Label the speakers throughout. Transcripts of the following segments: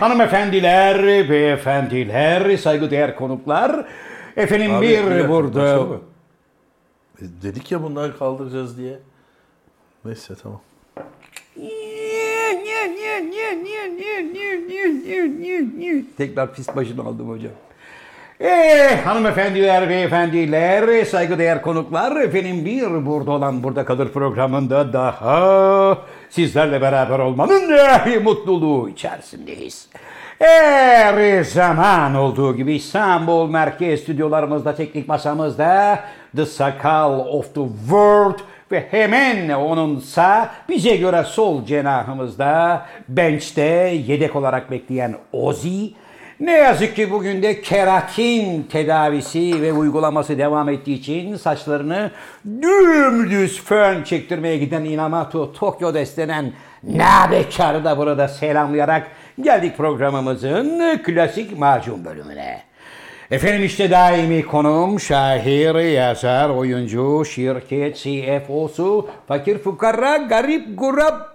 Speaker 1: Hanımefendiler, beyefendiler, saygıdeğer konuklar. Efendim
Speaker 2: Abi,
Speaker 1: bir,
Speaker 2: dakika,
Speaker 1: burada...
Speaker 2: başlama. E, Dedik ya bunları kaldıracağız diye. Neyse tamam.
Speaker 1: Tekrar pis başını aldım hocam. Ee, hanımefendiler, beyefendiler, saygıdeğer konuklar, efendim bir burada olan burada kalır programında daha sizlerle beraber olmanın eh, mutluluğu içerisindeyiz. Her zaman olduğu gibi İstanbul Merkez stüdyolarımızda, teknik masamızda The Sakal of the World ve hemen onun sağ bize göre sol cenahımızda bench'te yedek olarak bekleyen Ozi. Ne yazık ki bugün de keratin tedavisi ve uygulaması devam ettiği için saçlarını dümdüz fön çektirmeye giden Inamatu Tokyo destenen Nabekar'ı da burada selamlayarak geldik programımızın klasik macun bölümüne. Efendim işte daimi konuğum şair, yazar, oyuncu, şirket CFO'su, fakir fukara, garip guraba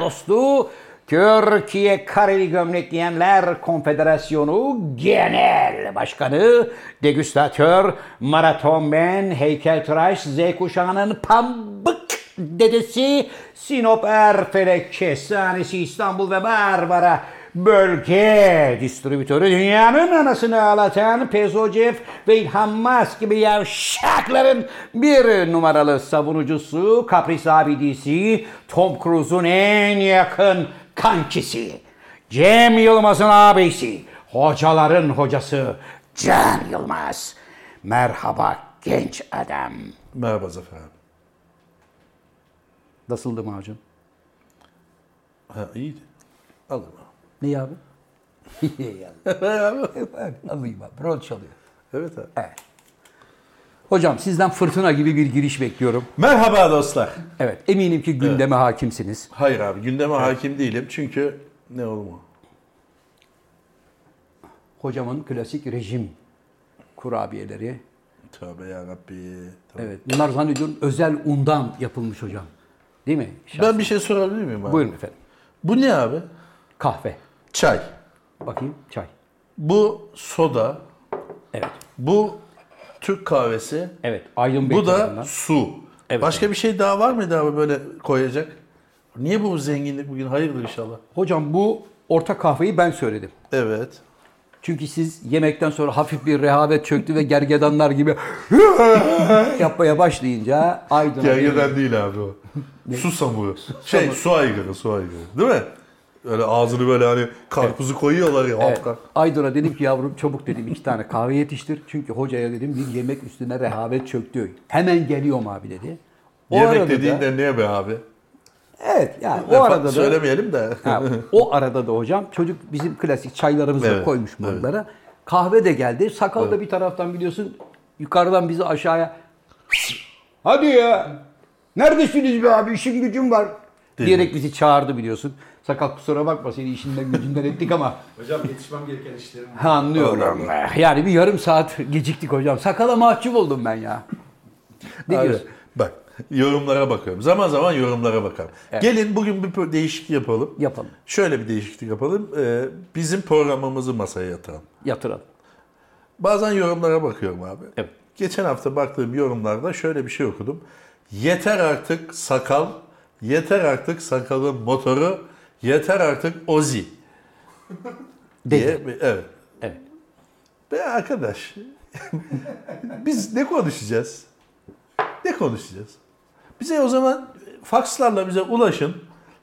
Speaker 1: dostu, Türkiye Kareli Gömlek Giyenler Konfederasyonu Genel Başkanı, degüstatör, maratonmen, heykeltıraş, Z kuşağının pambık dedesi, Sinop Erfelek Kestanesi İstanbul ve Marmara bölge distribütörü dünyanın anasını ağlatan Pezocef ve İlhan Mas gibi yavşakların bir numaralı savunucusu, kapris abidisi, Tom Cruise'un en yakın kankisi, Cem Yılmaz'ın abisi, hocaların hocası Can Yılmaz. Merhaba genç adam.
Speaker 2: Merhaba Zafer abi.
Speaker 1: Nasıldı macun?
Speaker 2: Ha iyiydi. Alın abi.
Speaker 1: Ne abi? Alayım abi. Rol çalıyor.
Speaker 2: Evet abi.
Speaker 1: Evet. Hocam sizden fırtına gibi bir giriş bekliyorum.
Speaker 2: Merhaba dostlar.
Speaker 1: Evet eminim ki gündeme hakimsiniz.
Speaker 2: Hayır abi gündeme hakim değilim çünkü ne oğlum o?
Speaker 1: Hocamın klasik rejim kurabiyeleri.
Speaker 2: Tövbe yarabbi. Tövbe.
Speaker 1: Evet bunlar zannediyorum özel undan yapılmış hocam. Değil mi? Şah-
Speaker 2: Ben bir şey sorabilir miyim abi?
Speaker 1: Buyurun efendim.
Speaker 2: Bu ne abi?
Speaker 1: Kahve.
Speaker 2: Çay.
Speaker 1: Bakayım çay.
Speaker 2: Bu soda.
Speaker 1: Evet.
Speaker 2: Bu Türk kahvesi.
Speaker 1: Evet. Aydın Bey
Speaker 2: Bu da
Speaker 1: tarafından.
Speaker 2: su.
Speaker 1: Evet
Speaker 2: Başka bir şey daha var mıydı abi böyle koyacak? Niye bu zenginlik bugün? Hayırdır inşallah.
Speaker 1: Hocam bu orta kahveyi ben söyledim.
Speaker 2: Evet.
Speaker 1: Çünkü siz yemekten sonra hafif bir rehavet çöktü ve gergedanlar gibi yapmaya başlayınca Aydın
Speaker 2: Gergeden değil abi o. su samuru. Şey su aygırı, su aygırı. Değil mi? Öyle ağzını böyle hani karpuzu koyuyorlar ya.
Speaker 1: Evet.
Speaker 2: halka.
Speaker 1: Aydın'a dedim ki yavrum çabuk dedim iki tane kahve yetiştir. Çünkü hocaya dedim bir yemek üstüne rehavet çöktü. Hemen geliyorum abi dedi. O
Speaker 2: Yemek
Speaker 1: arada da,
Speaker 2: dediğinde ne be abi?
Speaker 1: evet yani o
Speaker 2: Lafa
Speaker 1: arada da
Speaker 2: Söylemeyelim de.
Speaker 1: Ha, o arada da hocam çocuk bizim klasik çaylarımızı
Speaker 2: Evet,
Speaker 1: koymuş bunlara. Kahve de geldi. Sakal da bir taraftan biliyorsun yukarıdan bizi aşağıya Hadi ya. Neredesiniz be abi? İşim gücüm var. Diyerek bizi çağırdı biliyorsun. Sakal kusura bakma seni işinden gücünden ettik ama
Speaker 3: Hocam yetişmem gereken işlerim var.
Speaker 1: Ha, Anlıyorum. Yani bir yarım saat geciktik hocam. Sakala mahcup oldum ben ya. Ne
Speaker 2: Abi,
Speaker 1: diyorsun?
Speaker 2: Bak yorumlara bakıyorum. Zaman zaman yorumlara bakarım. Gelin bugün bir pro- değişiklik yapalım.
Speaker 1: Yapalım.
Speaker 2: Şöyle bir değişiklik yapalım. Ee, bizim programımızı masaya yatıralım.
Speaker 1: Yatıralım.
Speaker 2: Bazen yorumlara bakıyorum abi.
Speaker 1: Evet.
Speaker 2: Geçen hafta baktığım yorumlarda şöyle bir şey okudum. Yeter artık sakal, yeter artık sakalın motoru, yeter artık Ozi
Speaker 1: Dedi.
Speaker 2: diye. bir- Evet.
Speaker 1: Evet.
Speaker 2: Be arkadaş, biz ne konuşacağız? Ne konuşacağız? Bize o zaman fakslarla bize ulaşın.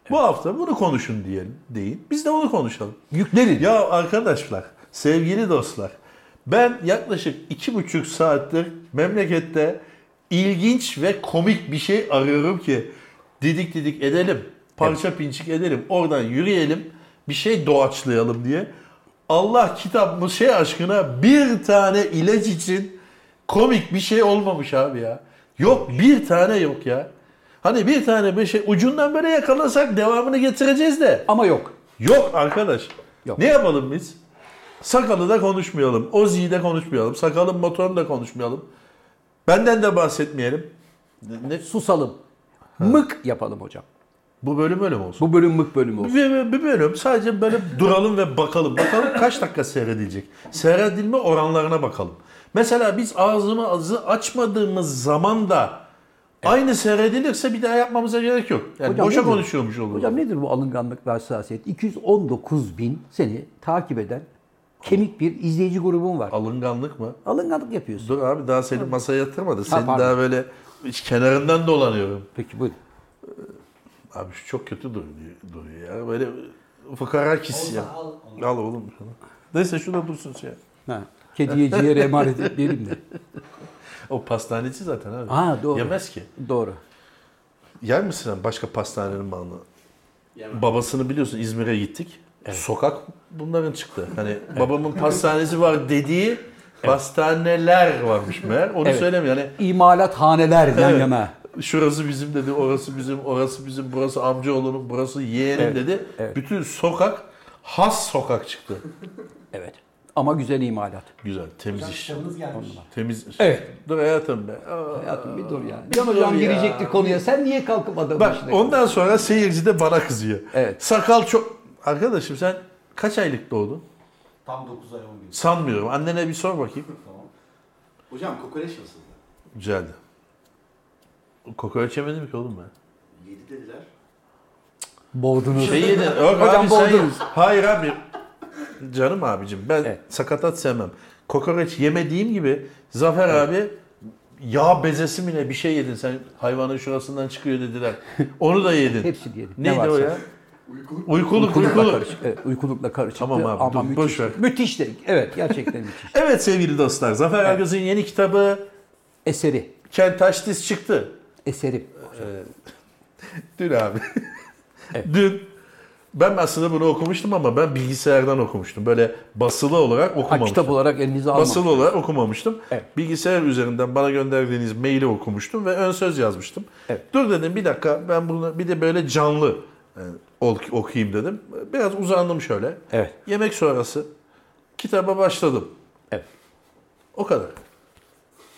Speaker 2: Bu hafta bunu konuşun diyelim deyin. Biz de onu konuşalım.
Speaker 1: Yüklerin.
Speaker 2: Ya arkadaşlar, sevgili dostlar, ben yaklaşık iki buçuk saattir memlekette ilginç ve komik bir şey arıyorum ki didik didik edelim, parça pinçik edelim, oradan yürüyelim, bir şey doğaçlayalım diye. Allah kitabımız şey aşkına bir tane ilaç için komik bir şey olmamış abi ya. Yok bir tane yok ya. Hani bir tane bir şey ucundan böyle yakalasak devamını getireceğiz de.
Speaker 1: Ama yok.
Speaker 2: Yok arkadaş.
Speaker 1: Yok.
Speaker 2: Ne yapalım biz? Sakalı da konuşmayalım. Ozi'yi de konuşmayalım. Sakalın motorunu da konuşmayalım. Benden de bahsetmeyelim. Ne?
Speaker 1: Susalım. Mık yapalım hocam.
Speaker 2: Bu bölüm öyle mi olsun?
Speaker 1: Bu bölüm mık bölüm olsun.
Speaker 2: Bir, bir bölüm sadece böyle duralım ve bakalım. Bakalım kaç dakika seyredilecek. Seyredilme oranlarına bakalım. Mesela biz ağzımızı açmadığımız zaman da aynı seyredilirse bir daha yapmamıza gerek yok. Yani
Speaker 1: Hocam
Speaker 2: boşa
Speaker 1: nedir?
Speaker 2: konuşuyormuş oluruz.
Speaker 1: Hocam nedir bu alınganlık ve hassasiyet? 219 bin seni takip eden kemik bir izleyici grubun var.
Speaker 2: Alınganlık mı?
Speaker 1: Alınganlık yapıyorsun.
Speaker 2: Dur abi daha seni masaya yatırmadı. Seni
Speaker 1: pardon.
Speaker 2: daha böyle hiç kenarından dolanıyorum.
Speaker 1: Peki buyurun.
Speaker 2: Abi şu çok kötü duruyor, duruyor ya. Böyle fukara kis ya.
Speaker 3: al
Speaker 2: Al oğlum. Neyse şurada dursun şey.
Speaker 1: Ha. Kediye ciğer emanet etmeyelim de.
Speaker 2: O pastaneci zaten abi.
Speaker 1: Ha, doğru.
Speaker 2: Yemez ki.
Speaker 1: Doğru.
Speaker 2: Yer misin sen başka pastanenin malını?
Speaker 3: Yemem.
Speaker 2: Babasını biliyorsun İzmir'e gittik. Sokak bunların çıktı. Hani babamın pastanesi var dediği pastaneler varmış meğer. Onu
Speaker 1: Evet.
Speaker 2: söylemiyor. Hani
Speaker 1: İmalat haneler yan
Speaker 2: Evet.
Speaker 1: yana.
Speaker 2: şurası bizim dedi, orası bizim, orası bizim, burası amcaoğlunun, burası yeğenim
Speaker 1: Evet,
Speaker 2: dedi.
Speaker 1: evet.
Speaker 2: Bütün sokak has sokak çıktı.
Speaker 1: Evet. Ama güzel imalat.
Speaker 2: Güzel, temiz iş.
Speaker 3: Kitabınız gelmiş.
Speaker 2: Temiz iş.
Speaker 1: Evet.
Speaker 2: Dur hayatım be. Aa.
Speaker 1: Hayatım bir dur ya.
Speaker 2: Bir
Speaker 1: Can
Speaker 2: dur
Speaker 1: hocam
Speaker 2: ya.
Speaker 1: girecekti konuya. Sen niye kalkıp adamın
Speaker 2: Bak
Speaker 1: başına-
Speaker 2: ondan sonra seyirci de bana kızıyor.
Speaker 1: Evet.
Speaker 2: Sakal çok... Arkadaşım sen kaç aylık doğdun?
Speaker 3: Tam 9 ay 10 gün.
Speaker 2: Sanmıyorum. Annene bir sor bakayım.
Speaker 3: Tamam. Hocam kokoreç nasıldı?
Speaker 2: Güzeldi. Kokoreç yemedim ki oğlum ben.
Speaker 3: 7 dediler.
Speaker 1: Boğdunuz.
Speaker 2: Şey yedin. Yok
Speaker 1: Hocam
Speaker 2: abi sen-
Speaker 1: boğdunuz.
Speaker 2: Hayır abi. Canım abicim ben
Speaker 1: Evet.
Speaker 2: sakatat sevmem. Kokoreç yemediğim gibi Zafer abi yağ bezesi mi ne bir şey yedin sen hayvanın şurasından çıkıyor dediler. Onu da yedin.
Speaker 1: Hepsi diyelim.
Speaker 2: Neydi o ya?
Speaker 3: Uykulu
Speaker 2: Uykuluk
Speaker 1: Uykulukla
Speaker 2: uykuluk.
Speaker 1: karışık. Evet, uykulukla karışık.
Speaker 2: Tamam abi,
Speaker 1: Ama
Speaker 2: dur,
Speaker 1: müthiş.
Speaker 2: boş ver.
Speaker 1: Müthiş de. Evet gerçekten müthiş.
Speaker 2: Evet sevgili dostlar Zafer Algöz'ün yeni kitabı
Speaker 1: Eseri.
Speaker 2: Kent Taştiz çıktı.
Speaker 1: Eseri.
Speaker 2: Dün abi. Dün ben aslında bunu okumuştum ama ben bilgisayardan okumuştum. Böyle basılı olarak
Speaker 1: Ha,
Speaker 2: okumamıştım.
Speaker 1: kitap olarak elinize almak.
Speaker 2: Basılı olarak okumamıştım.
Speaker 1: Evet.
Speaker 2: Bilgisayar üzerinden bana gönderdiğiniz maili okumuştum ve ön söz yazmıştım.
Speaker 1: Evet.
Speaker 2: Dur dedim bir dakika ben bunu bir de böyle canlı e, ok- okuyayım dedim. Biraz uzandım şöyle.
Speaker 1: Evet.
Speaker 2: Yemek sonrası kitaba başladım.
Speaker 1: Evet.
Speaker 2: O kadar.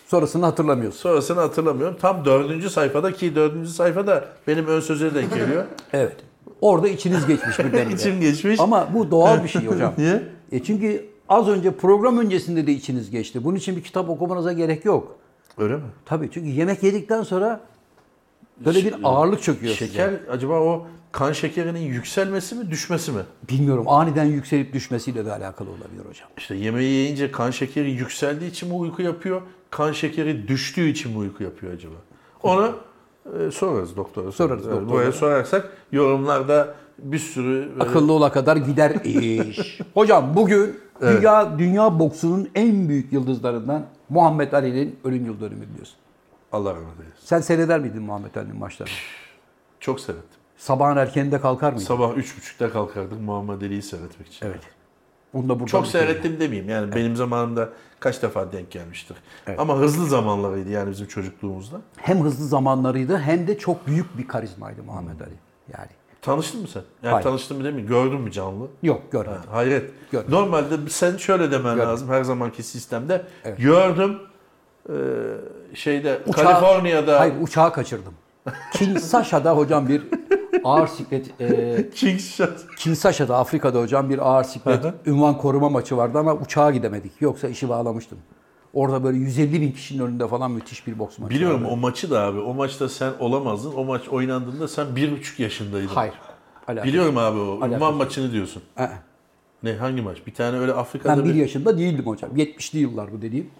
Speaker 1: Sonrasını hatırlamıyorsun.
Speaker 2: Sonrasını hatırlamıyorum. Tam dördüncü sayfada ki dördüncü sayfada benim ön söze denk geliyor.
Speaker 1: Evet. Orada içiniz geçmiş birdenbire.
Speaker 2: İçim geçmiş.
Speaker 1: Ama bu doğal bir şey hocam.
Speaker 2: Niye?
Speaker 1: E çünkü az önce program öncesinde de içiniz geçti. Bunun için bir kitap okumanıza gerek yok.
Speaker 2: Öyle mi?
Speaker 1: Tabii çünkü yemek yedikten sonra böyle bir ağırlık çöküyor size.
Speaker 2: Şeker acaba o kan şekerinin yükselmesi mi düşmesi mi?
Speaker 1: Bilmiyorum aniden yükselip düşmesiyle de alakalı olabilir hocam.
Speaker 2: İşte yemeği yiyince kan şekeri yükseldiği için mi uyku yapıyor? Kan şekeri düştüğü için mi uyku yapıyor acaba? Onu e, sorarız doktora.
Speaker 1: Sorarız doktora.
Speaker 2: Buraya sorarsak yorumlarda bir sürü e, böyle-
Speaker 1: Akıllı ola kadar gider iş. Hocam bugün dünya dünya boksunun en büyük yıldızlarından Muhammed Ali'nin ölüm yıl dönümü biliyorsun.
Speaker 2: Allah rahmet eylesin.
Speaker 1: Sen seyreder miydin Muhammed Ali'nin maçlarını?
Speaker 2: Çok seyrettim.
Speaker 1: Sabahın erkeninde kalkar mıydın?
Speaker 2: Sabah 3.30'da kalkardık Muhammed Ali'yi seyretmek için.
Speaker 1: evet. Bunu da buradan
Speaker 2: Çok
Speaker 1: bitirelim.
Speaker 2: seyrettim demeyeyim. Yani benim zamanımda kaç defa denk gelmiştir. Ama hızlı zamanlarıydı yani bizim çocukluğumuzda.
Speaker 1: Hem hızlı zamanlarıydı hem de çok büyük bir karizmaydı Muhammed Ali. Yani
Speaker 2: Tanıştın mı sen? Yani
Speaker 1: Hayır.
Speaker 2: tanıştın mı demeyeyim. Gördün mü canlı?
Speaker 1: yok görmedim.
Speaker 2: Ha, Hayret.
Speaker 1: Gördüm.
Speaker 2: Normalde sen şöyle demen lazım her zamanki sistemde. Gördüm e, şeyde
Speaker 1: Uçağı-
Speaker 2: Kaliforniya'da
Speaker 1: Hayır uçağı kaçırdım. Kinsasha'da hocam bir ağır siklet e,
Speaker 2: Kings Shot.
Speaker 1: Kinsasha'da Afrika'da hocam bir ağır siklet
Speaker 2: Hı hı.
Speaker 1: ünvan koruma maçı vardı ama uçağa gidemedik. Yoksa işi bağlamıştım. Orada böyle 150 bin kişinin önünde falan müthiş bir boks maçı
Speaker 2: Biliyorum
Speaker 1: vardı.
Speaker 2: o maçı da abi. O maçta sen olamazdın. O maç oynandığında sen bir buçuk yaşındaydın.
Speaker 1: Hayır. Alakası.
Speaker 2: Biliyorum abi o.
Speaker 1: Alakası
Speaker 2: Ünvan maçını diyorsun.
Speaker 1: Ee,
Speaker 2: Ne hangi maç? Bir tane öyle Afrika'da
Speaker 1: Ben bir
Speaker 2: bir...
Speaker 1: yaşında değildim hocam. 70'li yıllar bu dediğim.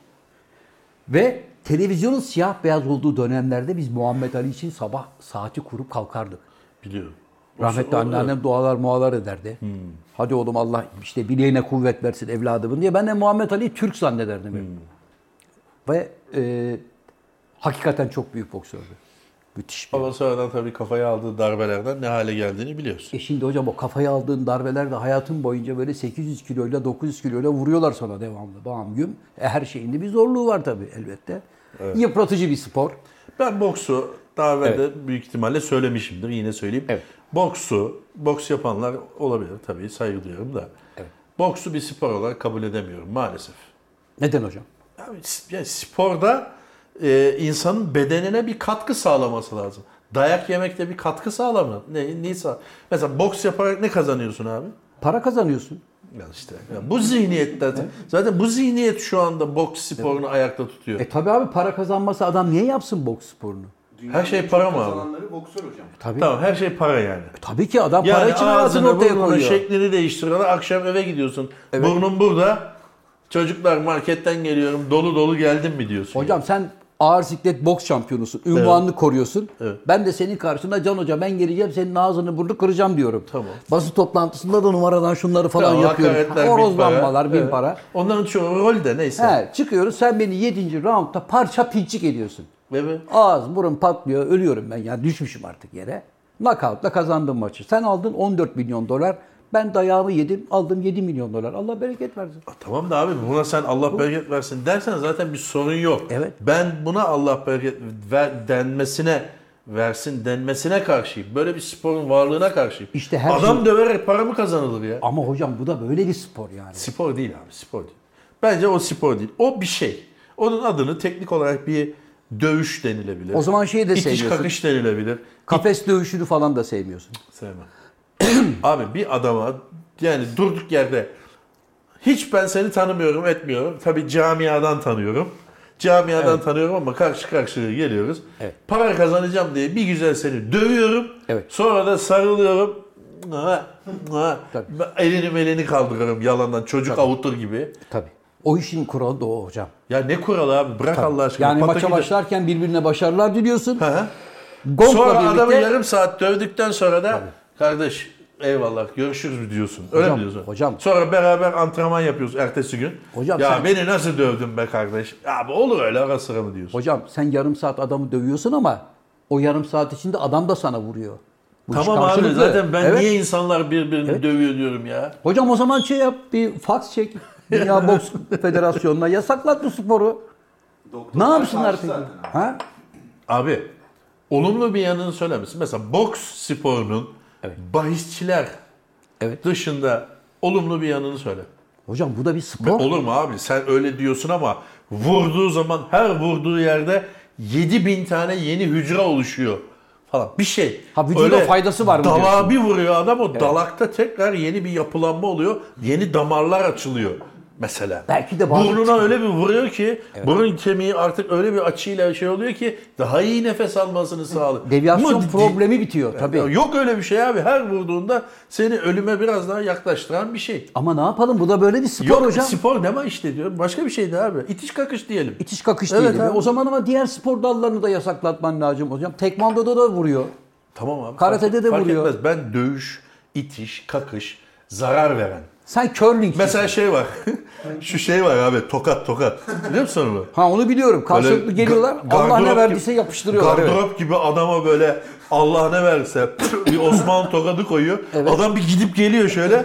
Speaker 1: Ve televizyonun siyah beyaz olduğu dönemlerde biz Muhammed Ali için sabah saati kurup kalkardık.
Speaker 2: Biliyorum. O-
Speaker 1: Rahmetli
Speaker 2: o-
Speaker 1: anneannem dualar mualar ederdi. Hadi oğlum Allah işte bileğine kuvvet versin evladımın diye. Ben de Muhammed Ali'yi Türk zannederdim. hep. Ve e, hakikaten çok büyük boksördü. Müthiş bir.
Speaker 2: Ama sonradan tabii kafaya aldığı darbelerden ne hale geldiğini biliyorsun.
Speaker 1: E şimdi hocam o kafaya aldığın darbeler de hayatın boyunca böyle 800 kiloyla 900 kiloyla vuruyorlar sana devamlı. Bam güm. E her şeyin de bir zorluğu var tabii elbette. Yıpratıcı bir spor.
Speaker 2: Ben boksu daha evvel de büyük ihtimalle söylemişimdir. Yine söyleyeyim.
Speaker 1: Evet.
Speaker 2: Boksu, boks yapanlar olabilir tabii saygı duyuyorum da. Boksu bir spor olarak kabul edemiyorum maalesef.
Speaker 1: Neden hocam?
Speaker 2: Abi, s- yani sporda e, insanın bedenine bir katkı sağlaması lazım. Dayak yemekte bir katkı sağlamıyor. Ne, Nisa. Mesela boks yaparak ne kazanıyorsun abi?
Speaker 1: Para kazanıyorsun.
Speaker 2: Ya işte. ya bu zihniyetten. Zaten bu zihniyet şu anda boks sporunu ayakta tutuyor.
Speaker 1: E tabi abi para kazanmasa adam niye yapsın boks sporunu?
Speaker 3: Dünyanın
Speaker 2: şey
Speaker 3: en
Speaker 2: para
Speaker 3: çok
Speaker 2: mı abi?
Speaker 3: Kazananları boksör hocam.
Speaker 1: Tabii.
Speaker 2: Tamam her şey para yani.
Speaker 1: Tabii ki adam para
Speaker 2: Yani şey-
Speaker 1: için hayatını
Speaker 2: ağzını
Speaker 1: ortaya
Speaker 2: burnunu
Speaker 1: koyuyor.
Speaker 2: şeklini değiştiriyor. Akşam eve gidiyorsun. Burnun burada. Çocuklar marketten geliyorum. Dolu dolu geldim mi diyorsun.
Speaker 1: Hocam sen ağır siklet boks şampiyonusun. Ünvanını koruyorsun.
Speaker 2: Evet.
Speaker 1: Ben de senin karşında Can Hoca ben geleceğim senin ağzını burnunu kıracağım diyorum.
Speaker 2: Tamam.
Speaker 1: Basın toplantısında da numaradan şunları falan
Speaker 2: Tamam,
Speaker 1: yapıyoruz.
Speaker 2: hakaretler, bin
Speaker 1: Horozlanmalar bin
Speaker 2: Evet.
Speaker 1: para.
Speaker 2: Onların çoğu rol de neyse.
Speaker 1: He, çıkıyoruz sen beni 7. roundda parça pinçik ediyorsun.
Speaker 2: Ve ve-
Speaker 1: Ağız burun patlıyor ölüyorum ben yani düşmüşüm artık yere. Knockout'la kazandım maçı. Sen aldın 14 milyon dolar. Ben dayağımı yedim aldım 7 milyon dolar. Allah bereket versin.
Speaker 2: A, Tamam da abi buna sen Allah bereket versin dersen zaten bir sorun yok.
Speaker 1: Evet.
Speaker 2: Ben buna Allah bereket ver denmesine versin denmesine karşıyım. Böyle bir sporun varlığına karşıyım.
Speaker 1: İşte her
Speaker 2: Adam
Speaker 1: şey-
Speaker 2: döverek para mı kazanılır ya?
Speaker 1: Ama hocam bu da böyle bir spor yani.
Speaker 2: Spor değil abi spor değil. Bence o spor değil. O bir şey. Onun adını teknik olarak bir dövüş denilebilir.
Speaker 1: O zaman şeyi de
Speaker 2: İtiş
Speaker 1: seviyorsun.
Speaker 2: kakış denilebilir.
Speaker 1: Kafes dövüşünü falan da sevmiyorsun.
Speaker 2: Sevmem. Abi bir adama yani durduk yerde hiç ben seni tanımıyorum etmiyorum. Tabi camiadan tanıyorum. Camiadan tanıyorum ama karşı karşıya geliyoruz.
Speaker 1: Evet.
Speaker 2: Para kazanacağım diye bir güzel seni dövüyorum.
Speaker 1: Evet.
Speaker 2: Sonra da sarılıyorum. Ha, ha.
Speaker 1: Tabii.
Speaker 2: Ben Elini elini kaldırıyorum yalandan çocuk avutur gibi.
Speaker 1: Tabii. O işin kuralı da o hocam.
Speaker 2: Ya ne kuralı abi bırak Allah aşkına.
Speaker 1: Yani
Speaker 2: Pataküte-
Speaker 1: maça başlarken birbirine başarılar diliyorsun.
Speaker 2: Hı hı.
Speaker 1: Gongla
Speaker 2: Sonra
Speaker 1: birlikte
Speaker 2: adamı yarım saat dövdükten sonra da kardeş eyvallah görüşürüz mü diyorsun. Öyle
Speaker 1: Hocam,
Speaker 2: mi diyorsun?
Speaker 1: hocam.
Speaker 2: Sonra beraber antrenman yapıyoruz ertesi gün.
Speaker 1: Hocam
Speaker 2: ya
Speaker 1: sen-
Speaker 2: beni nasıl dövdün be kardeş? Abi olur öyle ara sıra mı diyorsun?
Speaker 1: hocam sen yarım saat adamı dövüyorsun ama o yarım saat içinde adam da sana vuruyor. Bu iş
Speaker 2: tamam abi
Speaker 1: karşılıklı.
Speaker 2: zaten ben
Speaker 1: Evet.
Speaker 2: niye insanlar birbirini dövüyor diyorum ya.
Speaker 1: Hocam o zaman şey yap bir fax çek. Dünya Boks Federasyonu'na yasaklat bu sporu. Ne
Speaker 3: Doktorlar
Speaker 1: yapsınlar
Speaker 3: karşı
Speaker 1: peki?
Speaker 3: zaten abi.
Speaker 1: Ha?
Speaker 2: Abi olumlu bir yanını söyler misin? Mesela boks sporunun bahisçiler
Speaker 1: Evet.
Speaker 2: dışında olumlu bir yanını söyle.
Speaker 1: Hocam bu da bir
Speaker 2: Be-
Speaker 1: spor.
Speaker 2: Olur mu abi? Sen öyle diyorsun ama vurduğu zaman her vurduğu yerde 7000 tane yeni hücre oluşuyor falan. Bir şey.
Speaker 1: Ha, vücuda faydası var mı
Speaker 2: Dalağa
Speaker 1: diyorsun?
Speaker 2: bir vuruyor adam o dalakta tekrar yeni bir yapılanma oluyor. Yeni damarlar açılıyor mesela.
Speaker 1: Belki de bazı-
Speaker 2: Burnuna öyle bir vuruyor ki burun kemiği artık öyle bir açıyla şey oluyor ki daha iyi nefes almasını sağlıyor.
Speaker 1: Deviasyon
Speaker 2: Ama di-
Speaker 1: problemi bitiyor tabii.
Speaker 2: Yok öyle bir şey abi. Her vurduğunda seni ölüme biraz daha yaklaştıran bir şey.
Speaker 1: Ama ne yapalım bu da böyle bir spor
Speaker 2: Yok
Speaker 1: hocam.
Speaker 2: spor deme işte diyorum. Başka bir şey de abi. İtiş kakış diyelim.
Speaker 1: İtiş kakış
Speaker 2: Evet
Speaker 1: değil.
Speaker 2: abi.
Speaker 1: O zaman ama diğer spor dallarını da yasaklatman lazım hocam. Tekmandoda da vuruyor.
Speaker 2: Tamam abi.
Speaker 1: Karate'de
Speaker 2: fark-
Speaker 1: de
Speaker 2: fark
Speaker 1: vuruyor.
Speaker 2: etmez. Ben dövüş, itiş, kakış, zarar veren.
Speaker 1: Sen curling.
Speaker 2: Mesela şey var. şu şey var abi tokat tokat. Biliyor musun onu?
Speaker 1: Ha onu biliyorum.
Speaker 2: Böyle
Speaker 1: Karşılıklı geliyorlar.
Speaker 2: ga-
Speaker 1: Allah
Speaker 2: gardırop
Speaker 1: ne verdiyse
Speaker 2: gibi-
Speaker 1: yapıştırıyorlar. evet.
Speaker 2: Gardırop gibi adama böyle Allah ne verse bir Osman tokadı koyuyor. Adam bir gidip geliyor şöyle.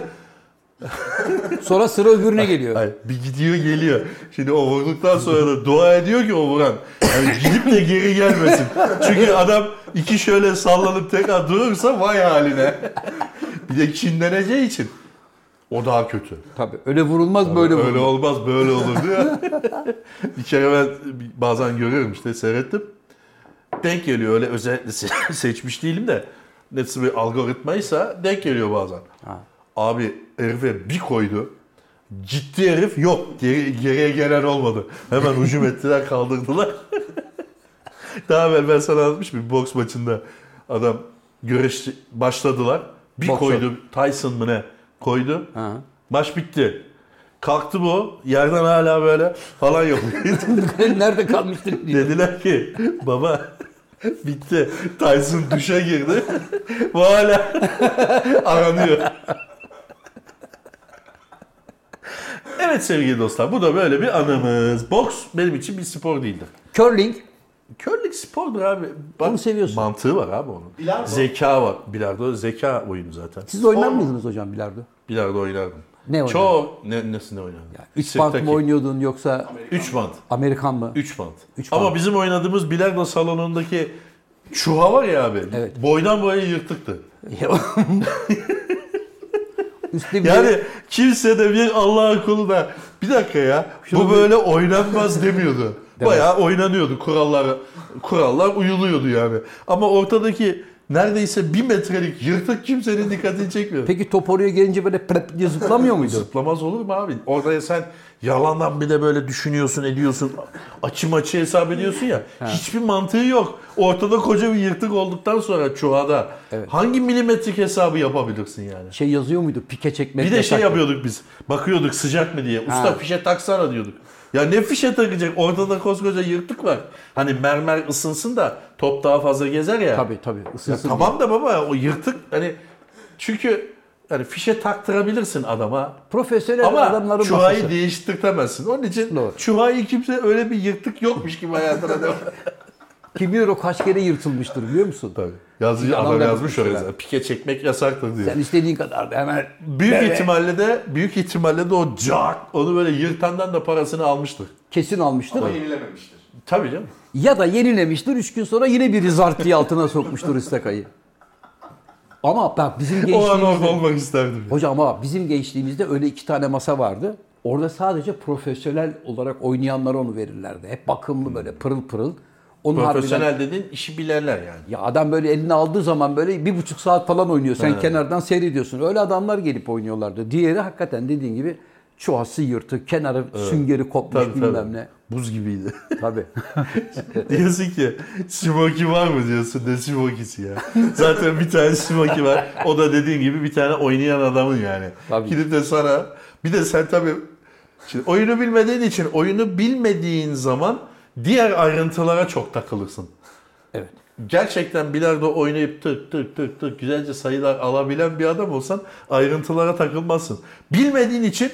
Speaker 1: Sonra sıra öbürüne geliyor.
Speaker 2: Ay, bir gidiyor geliyor. Şimdi o vurduktan sonra da dua ediyor ki o vuran. Yani gidip de geri gelmesin. Çünkü adam iki şöyle sallanıp tekrar durursa vay haline. Bir de kinleneceği için. O daha kötü.
Speaker 1: Tabii. Öyle vurulmaz böyle
Speaker 2: Öyle,
Speaker 1: vurulur.
Speaker 2: olmaz böyle olur diyor. bir kere ben bazen görüyorum işte seyrettim. Denk geliyor öyle özellikle se- seçmiş değilim de. Nasıl bir algoritmaysa denk geliyor bazen. Abi herife bir koydu. Gitti herif yok. Geri, geriye gelen olmadı. Hemen hücum ettiler kaldırdılar. Daha evvel ben sana anlatmıştım bir boks maçında adam güreş başladılar. Bir
Speaker 1: Boksör.
Speaker 2: koydu Tyson mı ne koydu.
Speaker 1: Ha.
Speaker 2: Maç bitti. Kalktı bu yerden hala böyle falan yapıyor.
Speaker 1: Nerede kalmıştık diye.
Speaker 2: Dediler ki baba bitti. Tyson duşa girdi. bu hala aranıyor. Evet sevgili dostlar bu da böyle bir anımız. Boks benim için bir spor değildir.
Speaker 1: Curling.
Speaker 2: Körlük spordur abi.
Speaker 1: Onu seviyorsun.
Speaker 2: Mantığı var abi onun.
Speaker 3: Bilardo.
Speaker 2: Zeka var. Bilardo zeka oyunu zaten.
Speaker 1: Siz oynar mıydınız hocam bilardo?
Speaker 2: Bilardo oynardım.
Speaker 1: Ne oynardın?
Speaker 2: Çok ne, nesinde oynardım?
Speaker 1: Üç bant mı
Speaker 2: Sirtaki.
Speaker 1: oynuyordun yoksa
Speaker 2: Üç bant.
Speaker 1: Amerikan mı?
Speaker 2: Üç bant.
Speaker 1: Üç
Speaker 2: Ama
Speaker 1: bant.
Speaker 2: bizim oynadığımız bilardo salonundaki çuha var ya abi.
Speaker 1: Evet.
Speaker 2: Boydan boya yırtıktı.
Speaker 1: Üstü bir
Speaker 2: Yani kimse de bir Allah'ın kulu da bir dakika ya bu böyle oynanmaz demiyordu. Bayağı oynanıyordu kurallar. Kurallar uyuluyordu yani. Ama ortadaki neredeyse bir metrelik yırtık kimsenin dikkatini çekmiyor.
Speaker 1: Peki top oraya gelince böyle prep diye zıplamıyor muydu?
Speaker 2: Zıplamaz olur mu abi? Orada sen yalandan bir de böyle düşünüyorsun, ediyorsun. Açı maçı hesap ediyorsun ya. Hiçbir mantığı yok. Ortada koca bir yırtık olduktan sonra çuhada
Speaker 1: Evet.
Speaker 2: hangi milimetrik hesabı yapabilirsin yani?
Speaker 1: Şey yazıyor muydu? Pike çekmek
Speaker 2: Bir de şey
Speaker 1: yasak.
Speaker 2: yapıyorduk biz. Bakıyorduk sıcak mı diye. Usta
Speaker 1: Ha.
Speaker 2: fişe taksana diyorduk. Ya ne fişe takacak? Ortada koskoca yırtık var. Hani mermer ısınsın da top daha fazla gezer ya.
Speaker 1: Tabii tabii.
Speaker 2: Ya
Speaker 1: Isınsın diye.
Speaker 2: tamam da baba o yırtık hani çünkü hani fişe taktırabilirsin adama.
Speaker 1: Profesyonel
Speaker 2: Ama
Speaker 1: adamların masası.
Speaker 2: çuvayı değiştirtemezsin. Onun için
Speaker 1: Doğru.
Speaker 2: çuvayı kimse öyle bir yırtık yokmuş gibi hayatına devam.
Speaker 1: Kim bilir o kaç kere yırtılmıştır biliyor musun?
Speaker 2: Tabii. Yazıcı
Speaker 1: Adam
Speaker 2: adam
Speaker 1: da yapmış
Speaker 2: yazmış oraya.
Speaker 1: yani.
Speaker 2: zaten. Pike çekmek yasaktır diyor.
Speaker 1: Sen istediğin kadar da hemen
Speaker 2: Büyük ihtimalle de büyük ihtimalle de o cak onu böyle yırtandan da parasını almıştır.
Speaker 1: kesin almıştır.
Speaker 3: Ama yenilememiştir.
Speaker 2: Tabii canım.
Speaker 1: Ya da yenilemiştir. Üç gün sonra yine bir rizart diye altına sokmuştur istakayı. Ama bak bizim
Speaker 2: O an orada
Speaker 1: gençliğimizde...
Speaker 2: olmak isterdim.
Speaker 1: Hocam ama bak bizim gençliğimizde öyle iki tane masa vardı. Orada sadece profesyonel olarak oynayanlara onu verirlerdi. Hep bakımlı böyle pırıl pırıl. Onun harbiden-
Speaker 2: Profesyonel dediğin işi bilenler yani.
Speaker 1: Ya adam böyle elini aldığı zaman böyle bir buçuk saat falan oynuyor. Sen kenardan seyrediyorsun. Öyle adamlar gelip oynuyorlardı. Diğeri hakikaten dediğin gibi çuhası yırtık, kenarı süngeri kopmuş
Speaker 2: Tabii
Speaker 1: bilmem
Speaker 2: tabii.
Speaker 1: ne.
Speaker 2: Buz gibiydi.
Speaker 1: Tabii.
Speaker 2: diyorsun ki Smoky var mı diyorsun ne Smoky'si ya. Zaten bir tane Smoky var. O da dediğin gibi bir tane oynayan adamın yani.
Speaker 1: Tabii.
Speaker 2: Gidip de sana bir de sen tabii şimdi oyunu bilmediğin için oyunu bilmediğin zaman diğer ayrıntılara çok takılırsın.
Speaker 1: evet.
Speaker 2: Gerçekten bilardo oynayıp tık tık tık tık güzelce sayılar alabilen bir adam olsan ayrıntılara takılmazsın. Bilmediğin için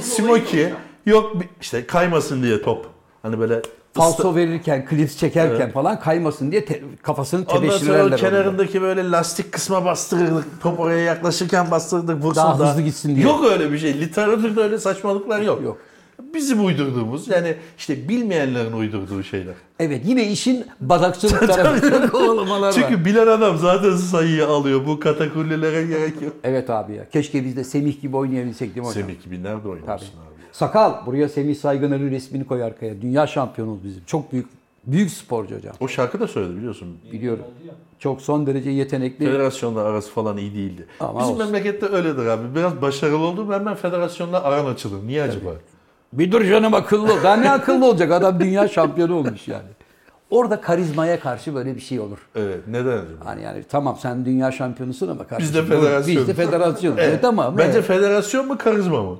Speaker 2: Smoky yok işte kaymasın diye top. Hani böyle
Speaker 1: Falso verirken, klips çekerken
Speaker 2: Evet.
Speaker 1: falan kaymasın diye te- kafasını
Speaker 2: Ondan sonra o
Speaker 1: tebeşirlerle
Speaker 2: kenarındaki böyle lastik kısma bastırırdık. Top oraya yaklaşırken bastırırdık. Vursun
Speaker 1: Daha hızlı gitsin diye.
Speaker 2: Yok öyle bir şey. Literatürde öyle saçmalıklar yok.
Speaker 1: Yok.
Speaker 2: Bizim uydurduğumuz yani işte bilmeyenlerin uydurduğu şeyler.
Speaker 1: Evet yine işin badakçılık tarafında kovalamalar var.
Speaker 2: Çünkü bilen adam zaten sayıyı alıyor. Bu katakullilere gerek yok.
Speaker 1: Evet abi ya. Keşke biz de Semih gibi oynayabilsek değil mi hocam?
Speaker 2: Semih gibi nerede
Speaker 1: Tabii.
Speaker 2: oynuyorsun abi?
Speaker 1: Sakal. Buraya Semih Saygıner'in resmini koy arkaya. Dünya şampiyonuz bizim. Çok büyük büyük sporcu hocam.
Speaker 2: O şarkı da söyledi biliyorsun.
Speaker 1: Biliyorum. Çok son derece yetenekli.
Speaker 2: Federasyonla arası falan iyi değildi.
Speaker 1: Ee, Ama
Speaker 2: Bizim
Speaker 1: olsun.
Speaker 2: memlekette öyledir abi. Biraz başarılı oldum hemen federasyonla aran açılır. Niye acaba?
Speaker 1: Bir dur canım akıllı. ol. Daha ne akıllı olacak? Adam dünya şampiyonu olmuş yani. Orada karizmaya karşı böyle bir şey olur.
Speaker 2: Evet. Neden acaba?
Speaker 1: Hani yani tamam sen dünya şampiyonusun ama kardeşim.
Speaker 2: de
Speaker 1: bu-
Speaker 2: federasyon.
Speaker 1: Biz de federasyon. evet, ama
Speaker 2: Bence federasyon mu karizma mı?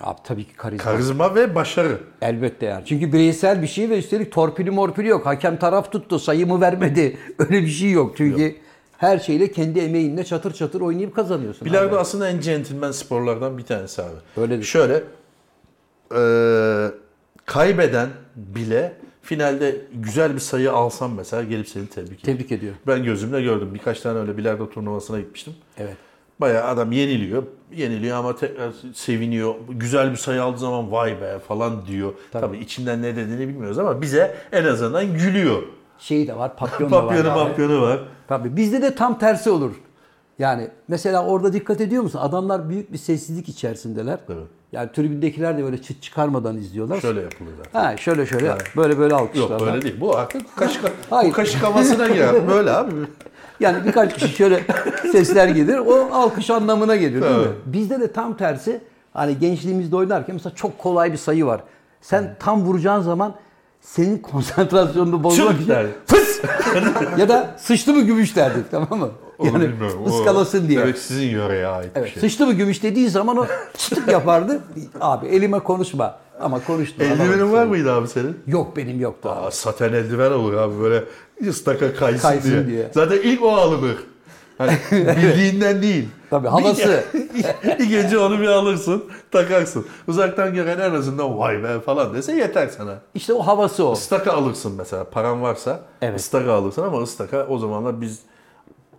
Speaker 1: Abi tabii ki karizma.
Speaker 2: Karizma ve başarı.
Speaker 1: Elbette yani. Çünkü bireysel bir şey ve üstelik torpili morpili yok. Hakem taraf tuttu, sayımı vermedi. Öyle bir şey yok. Çünkü her şeyle kendi emeğinle çatır çatır oynayıp kazanıyorsun. abi.
Speaker 2: Bilardo aslında en centilmen sporlardan bir tanesi abi.
Speaker 1: Öyledir.
Speaker 2: Şöyle e, kaybeden bile finalde güzel bir sayı alsam mesela gelip seni tebrik ediyor.
Speaker 1: Tebrik ediyor.
Speaker 2: Ben gözümle gördüm. Birkaç tane öyle bilardo turnuvasına gitmiştim.
Speaker 1: Evet.
Speaker 2: Bayağı adam yeniliyor. Yeniliyor ama tekrar seviniyor. Güzel bir sayı aldığı zaman vay be falan diyor. Tabii, içinden ne dediğini bilmiyoruz ama bize en azından gülüyor.
Speaker 1: Şeyi Şey de var, papyonu da var.
Speaker 2: Papyonu
Speaker 1: abi.
Speaker 2: papyonu var.
Speaker 1: Tabii bizde de tam tersi olur. Yani mesela orada dikkat ediyor musun? Adamlar büyük bir sessizlik içerisindeler.
Speaker 2: Evet.
Speaker 1: Yani tribündekiler de böyle çıt çıkarmadan izliyorlar.
Speaker 2: Şöyle yapılır zaten.
Speaker 1: Ha şöyle şöyle böyle böyle alkışlarla.
Speaker 2: Yok böyle değil. Bu artık kaşık,
Speaker 1: Hayır.
Speaker 2: bu kaşık havasına girer. Böyle abi.
Speaker 1: Yani birkaç kişi şöyle sesler gelir. O alkış anlamına geliyor değil mi?
Speaker 2: Evet.
Speaker 1: Bizde de tam tersi. Hani gençliğimizde oynarken mesela çok kolay bir sayı var. Sen tam vuracağın zaman senin konsantrasyonunu bozmak
Speaker 2: Çılk
Speaker 1: için
Speaker 2: der.
Speaker 1: fıs ya da sıçtı mı gümüş derdik tamam mı?
Speaker 2: Onu
Speaker 1: yani
Speaker 2: bilmiyorum. O
Speaker 1: ıskalasın diye.
Speaker 2: Demek sizin yöreye ait
Speaker 1: Evet,
Speaker 2: bir şey.
Speaker 1: Sıçtı mı gümüş dediği zaman o çıtık yapardı. Abi elime konuşma. Ama konuştu.
Speaker 2: Eldivenin
Speaker 1: Alamadım
Speaker 2: var
Speaker 1: seni.
Speaker 2: mıydı abi senin?
Speaker 1: Yok benim yoktu. abi.
Speaker 2: Aa, saten eldiven olur abi böyle ıstaka kaysın,
Speaker 1: Kaysın
Speaker 2: diye.
Speaker 1: diye.
Speaker 2: Zaten ilk o alınır. Hani bildiğinden değil.
Speaker 1: Tabii, havası.
Speaker 2: Bir, bir gece onu bir alırsın, takarsın. Uzaktan gören en azından vay be falan dese yeter sana.
Speaker 1: İşte o havası o.
Speaker 2: Istaka alırsın mesela paran varsa
Speaker 1: Evet.
Speaker 2: ıstaka alırsın ama ıstaka o zamanlar biz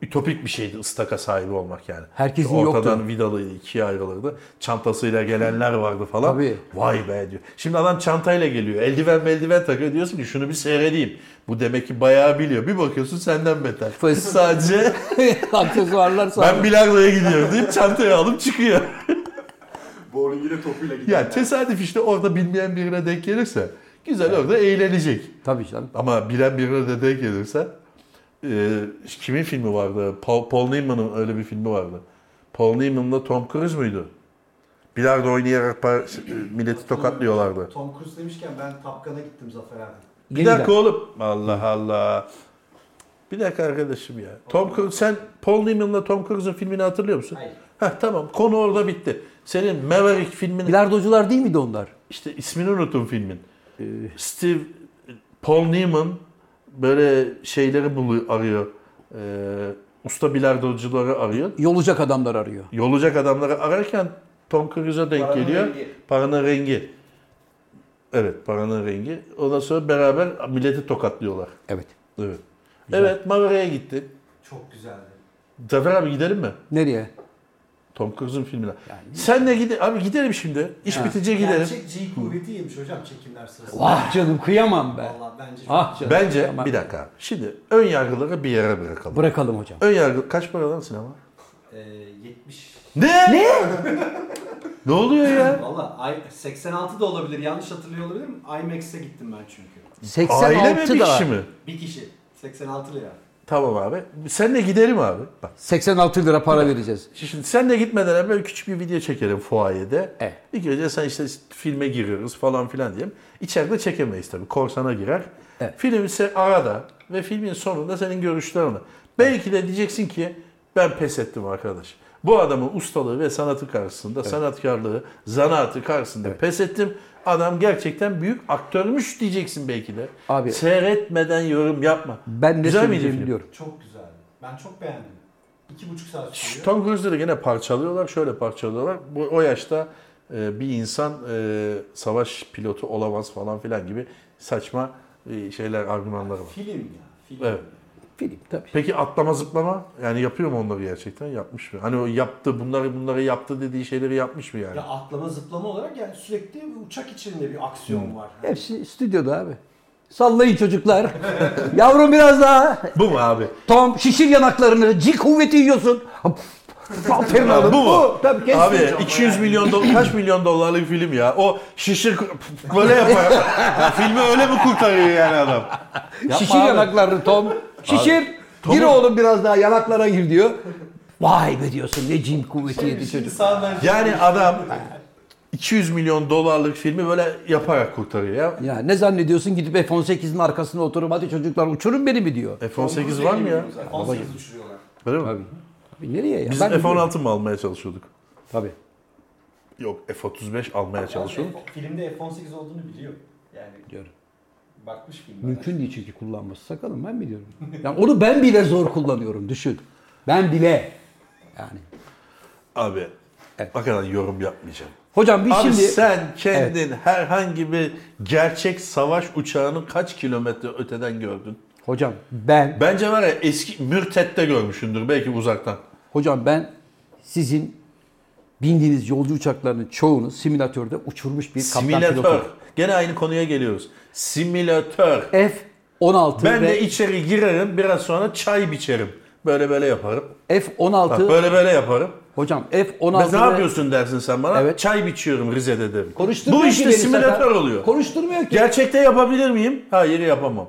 Speaker 2: ütopik bir şeydi ıstaka sahibi olmak yani.
Speaker 1: Herkesin
Speaker 2: Ortadan
Speaker 1: yoktu.
Speaker 2: vidalı ikiye ayrılırdı. Çantasıyla gelenler vardı falan.
Speaker 1: Tabii.
Speaker 2: Vay be diyor. Şimdi adam çantayla geliyor. Eldiven eldiven takıyor. Diyorsun ki şunu bir seyredeyim. Bu demek ki bayağı biliyor. Bir bakıyorsun senden beter.
Speaker 1: Fıs.
Speaker 2: Sadece
Speaker 1: Aksesuarlar sağlam.
Speaker 2: ben bilardoya gidiyorum deyip çantayı alıp çıkıyor.
Speaker 3: Bowling yine topuyla gidiyor.
Speaker 2: Ya tesadüf işte orada bilmeyen birine denk gelirse Güzel orada eğlenecek.
Speaker 1: Tabii canım.
Speaker 2: Ama bilen birine de denk gelirse e, kimin filmi vardı? Paul, Paul Newman'ın öyle bir filmi vardı. Paul Newman'la Tom Cruise muydu? Bilardo oynayarak par- milleti tokatlıyorlardı.
Speaker 3: Tom Cruise demişken ben Tapkan'a gittim Zafer abi.
Speaker 2: Bir
Speaker 1: Yeniden.
Speaker 2: dakika oğlum. Allah Allah. Bir dakika arkadaşım ya. Tom Cruise, sen Paul Newman'la Tom Cruise'un filmini hatırlıyor musun?
Speaker 3: Hayır.
Speaker 2: Heh, tamam konu orada bitti. Senin Maverick filmini
Speaker 1: Bilardocular değil miydi onlar?
Speaker 2: işte ismini unuttum filmin.
Speaker 1: Ee,
Speaker 2: Steve Paul Newman böyle şeyleri buluyor, arıyor. Ee, usta bilardocuları arıyor.
Speaker 1: Yolacak adamlar arıyor.
Speaker 2: Yolacak adamları ararken Tom Cruise'a denk
Speaker 3: Paranın
Speaker 2: geliyor.
Speaker 3: Rengi.
Speaker 2: Paranın rengi. Evet, paranın rengi. Ondan sonra beraber milleti tokatlıyorlar.
Speaker 1: Evet.
Speaker 2: Evet. Evet, Maverick'e gitti.
Speaker 3: Çok güzeldi.
Speaker 2: Zafer abi gidelim mi?
Speaker 1: Nereye?
Speaker 2: Tom Cruise'un filmine. Sen de gide abi gidelim şimdi. İş
Speaker 1: Ha.
Speaker 2: bitince gidelim.
Speaker 3: Gerçek G kuvvetiymiş hocam çekimler sırasında.
Speaker 1: Vah Ah canım kıyamam ben.
Speaker 3: Vallahi bence çok
Speaker 1: Ah canım.
Speaker 2: Bence
Speaker 1: kıyamam.
Speaker 2: bir dakika. Şimdi ön yargıları bir yere bırakalım.
Speaker 1: Bırakalım hocam.
Speaker 2: Ön yargı kaç para lan sinema?
Speaker 3: Ee, 70.
Speaker 2: Ne? Ne? ne oluyor ya?
Speaker 3: Valla I- 86 da olabilir yanlış hatırlıyor olabilirim. IMAX'e gittim ben çünkü.
Speaker 2: Aile mi
Speaker 1: 86
Speaker 2: bir
Speaker 1: da.
Speaker 2: kişi mi?
Speaker 3: Bir kişi 86 lira.
Speaker 2: Tamam abi. Sen de gidelim abi. Bak.
Speaker 1: 86 lira para vereceğiz.
Speaker 2: Şimdi sen de gitmeden evvel küçük bir video çekelim fuayede.
Speaker 1: Evet.
Speaker 2: İlk önce sen işte filme giriyoruz falan filan diyelim. İçeride çekemeyiz tabii. Korsana girer.
Speaker 1: Evet.
Speaker 2: Film ise arada ve filmin sonunda senin görüşlerini. Belki de diyeceksin ki ben pes ettim arkadaş. Bu adamın ustalığı ve sanatı karşısında, sanatkarlığı, zanaatı karşısında pes ettim. Adam gerçekten büyük aktörmüş diyeceksin belki de.
Speaker 1: Abi-
Speaker 2: Seyretmeden yorum yapma.
Speaker 1: Ben ne
Speaker 2: Güzel miydi
Speaker 1: söyleyeceğimi
Speaker 2: film?
Speaker 1: biliyorum.
Speaker 3: Çok güzeldi. Ben çok beğendim. 2,5 saat
Speaker 2: Şu
Speaker 3: sürüyor.
Speaker 2: Tom Cruise'da da gene parçalıyorlar, şöyle parçalıyorlar. Bu o yaşta e, bir insan e, savaş pilotu olamaz falan filan gibi saçma e, şeyler, argümanları var.
Speaker 3: Film ya. Film.
Speaker 2: Evet.
Speaker 1: Film tabii.
Speaker 2: Peki atlama zıplama yani yapıyor mu onları gerçekten? Yapmış mı? Hani o yaptı, bunları bunları yaptı dediği şeyleri yapmış mı yani?
Speaker 3: Ya atlama zıplama olarak yani sürekli bir uçak içinde bir
Speaker 2: Hmm.
Speaker 3: aksiyon var.
Speaker 2: E,
Speaker 1: Hepsi stüdyoda abi. Sallayın çocuklar. Yavrum biraz daha.
Speaker 2: Bu mu abi?
Speaker 1: Tom şişir yanaklarını. Cik kuvveti yiyorsun. Aferin
Speaker 2: Ha,
Speaker 1: oğlum.
Speaker 2: bu mu?
Speaker 1: Tabii kesin.
Speaker 2: Abi 200 milyon dolar, kaç milyon dolarlık film ya? O şişir böyle yapar. Ya filmi öyle mi kurtarıyor yani adam? Yapma
Speaker 1: şişir
Speaker 2: abi.
Speaker 1: yanaklarını Tom. Şişir. Gir
Speaker 2: Tom'un-
Speaker 1: oğlum biraz daha yanaklara gir diyor. Vay be diyorsun ne cin kuvveti yedi
Speaker 3: şey
Speaker 1: çocuk.
Speaker 3: Sağdan
Speaker 2: Yani adam 200 milyon dolarlık filmi böyle yaparak kurtarıyor ya.
Speaker 1: Ya ne zannediyorsun gidip F-18'in arkasına oturup hadi çocuklar uçurun beni mi diyor.
Speaker 2: F-18 var mı ya?
Speaker 3: F-18 uçuruyorlar.
Speaker 2: Öyle mi?
Speaker 1: Tabii. Tabii nereye ya?
Speaker 2: Biz
Speaker 1: Ben biliyorum.
Speaker 2: F-16 mı almaya çalışıyorduk?
Speaker 1: Tabii.
Speaker 2: Yok F-35 almaya çalışıyorduk.
Speaker 3: Yani Filmde F-18 olduğunu biliyor. Yani
Speaker 1: Diyorum.
Speaker 3: bakmış filmlere.
Speaker 1: Mümkün değil çünkü kullanması sakalım ben biliyorum. Yani onu ben bile zor kullanıyorum düşün. Ben bile. Yani.
Speaker 2: Abi
Speaker 1: Evet.
Speaker 2: hakikaten yorum yapmayacağım.
Speaker 1: Hocam biz
Speaker 2: Abi
Speaker 1: şimdi
Speaker 2: sen kendin herhangi bir gerçek savaş uçağını kaç kilometre öteden gördün?
Speaker 1: hocam ben
Speaker 2: Bence var ya eski mürtette görmüşündür belki uzaktan.
Speaker 1: hocam ben sizin bindiğiniz yolcu uçaklarının çoğunu simülatörde uçurmuş bir kaptan
Speaker 2: Simülatör.
Speaker 1: pilotu.
Speaker 2: Gene aynı konuya geliyoruz. Simülatör.
Speaker 1: F-16
Speaker 2: Ben de
Speaker 1: ve
Speaker 2: içeri girerim biraz sonra çay biçerim. Böyle böyle yaparım. Bak
Speaker 1: F-16
Speaker 2: böyle böyle yaparım.
Speaker 1: hocam
Speaker 2: Ben
Speaker 1: F-16
Speaker 2: ne
Speaker 1: ve-
Speaker 2: yapıyorsun dersin sen bana?
Speaker 1: Evet.
Speaker 2: Çay biçiyorum Rize'de derim.
Speaker 1: Konuşturmuyor
Speaker 2: Bu
Speaker 1: ki
Speaker 2: işte
Speaker 1: beni
Speaker 2: simülatör
Speaker 1: zaten.
Speaker 2: oluyor.
Speaker 1: Konuşturmuyor ki.
Speaker 2: Gerçekte yapabilir miyim? Hayır yapamam.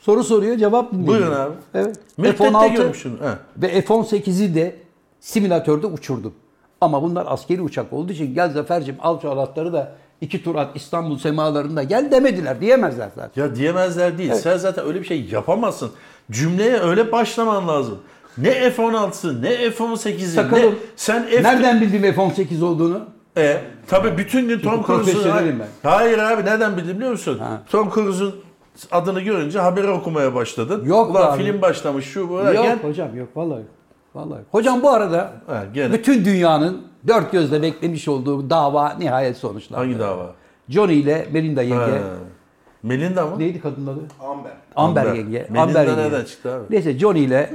Speaker 1: Soru soruyor cevap dinliyor.
Speaker 2: Buyurun abi.
Speaker 1: Evet.
Speaker 2: Mürtet'te görmüşsün. He.
Speaker 1: ve F-18'i de simülatörde uçurdum. Ama bunlar askeri uçak olduğu için gel Zafer'cim al şu alatları da iki tur at İstanbul semalarında gel demediler diyemezler zaten.
Speaker 2: Ya diyemezler değil. Sen zaten öyle bir şey yapamazsın. Cümleye öyle başlaman lazım. Ne F-16'sı ne F-18'i ne...
Speaker 1: Sakalım.
Speaker 2: Sen F...
Speaker 1: Nereden bildim F-18 olduğunu?
Speaker 2: E, tabii bütün gün Tom Cruise'un...
Speaker 1: profesyonelim ben.
Speaker 2: Hayır abi nereden bildim biliyor musun?
Speaker 1: Ha.
Speaker 2: Tom Cruise'un adını görünce haberi okumaya başladın.
Speaker 1: Yok
Speaker 2: Ulan
Speaker 1: abi.
Speaker 2: film başlamış şu bu.
Speaker 1: yok
Speaker 2: derken-
Speaker 1: hocam yok vallahi yok. Vallahi. yok. Hocam bu arada
Speaker 2: Ha, gene.
Speaker 1: bütün dünyanın dört gözle beklemiş olduğu dava nihayet sonuçlandı.
Speaker 2: Hangi dava?
Speaker 1: Johnny ile Melinda yenge.
Speaker 2: Ha. Melinda mı?
Speaker 1: Neydi kadının adı?
Speaker 3: Amber.
Speaker 1: Amber,
Speaker 2: Amber.
Speaker 1: yenge.
Speaker 2: Melinda
Speaker 1: Amber yenge.
Speaker 2: nereden çıktı abi?
Speaker 1: Neyse Johnny ile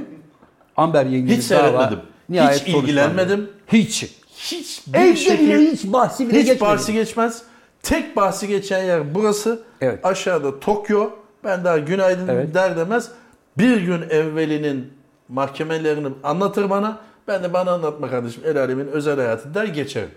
Speaker 1: Amber yengenin
Speaker 2: Hiç
Speaker 1: dava
Speaker 2: seyretmedim.
Speaker 1: nihayet
Speaker 2: Hiç ilgilenmedim.
Speaker 1: sonuçlandı. Hiç.
Speaker 2: Hiç bir
Speaker 1: Evde
Speaker 2: şekil-
Speaker 1: bile hiç bahsi bile
Speaker 2: hiç
Speaker 1: geçmedi.
Speaker 2: bahsi geçmez. Tek bahsi geçen yer burası.
Speaker 1: Evet.
Speaker 2: Aşağıda Tokyo. Ben daha günaydın
Speaker 1: Evet.
Speaker 2: der demez. Bir gün evvelinin mahkemelerini anlatır bana. Ben de bana anlatma kardeşim el alemin özel hayatı der geçerim.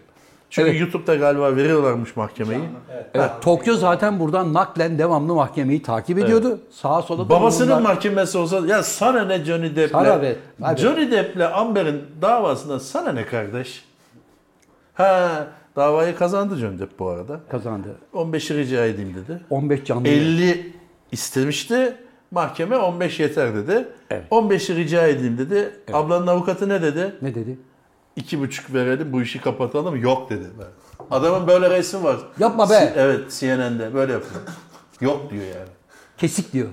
Speaker 2: Çünkü
Speaker 1: Evet.
Speaker 2: YouTube'da galiba veriyorlarmış mahkemeyi.
Speaker 3: Evet.
Speaker 1: Evet, Tokyo zaten buradan naklen devamlı mahkemeyi takip ediyordu. Sağa sola da
Speaker 2: Babasının
Speaker 1: bunlar-
Speaker 2: mahkemesi olsa ya sana ne Johnny Depp'le
Speaker 1: Sana be, abi.
Speaker 2: Johnny Depp'le Amber'in davasında sana ne kardeş? Ha davayı kazandı Johnny Depp bu arada.
Speaker 1: kazandı.
Speaker 2: 15'i rica edeyim dedi.
Speaker 1: 15 canlı.
Speaker 2: 50 istemişti. Mahkeme 15 yeter dedi.
Speaker 1: Evet.
Speaker 2: 15'i rica edeyim dedi. Ablanın avukatı ne dedi?
Speaker 1: Ne dedi?
Speaker 2: İki buçuk verelim bu işi kapatalım. Yok dedi. Adamın böyle resmi var.
Speaker 1: Yapma be.
Speaker 2: Si- evet CNN'de böyle yapıyor. Yok diyor yani.
Speaker 1: Kesik diyor.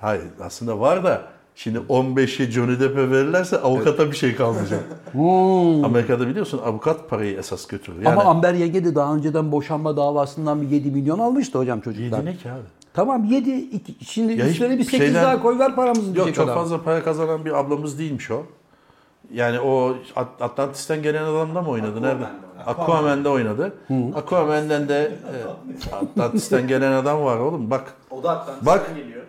Speaker 2: Hayır aslında var da şimdi 15'i Johnny Depp'e verirlerse avukata bir şey kalmayacak.
Speaker 1: Hmm.
Speaker 2: Amerika'da biliyorsun avukat parayı esas götürür. Yani
Speaker 1: Ama Amber Yenge de daha önceden boşanma davasından bir 7 milyon almıştı hocam çocuklar.
Speaker 2: yedi ne ki abi?
Speaker 1: Tamam 7. Iki, şimdi
Speaker 2: Ya hiç
Speaker 1: üstüne bir 8
Speaker 2: şeyden-
Speaker 1: daha koy ver paramızı diyecek
Speaker 2: Yok çok
Speaker 1: adam.
Speaker 2: fazla para kazanan bir ablamız değilmiş o. Yani o At- Atlantis'ten gelen adamda mı oynadı? Nerede? Aquaman'da oynadı. Aquaman'den de e, Atlantis'ten gelen adam var oğlum bak.
Speaker 3: O da Atlantis'ten
Speaker 2: Bak.
Speaker 3: geliyor.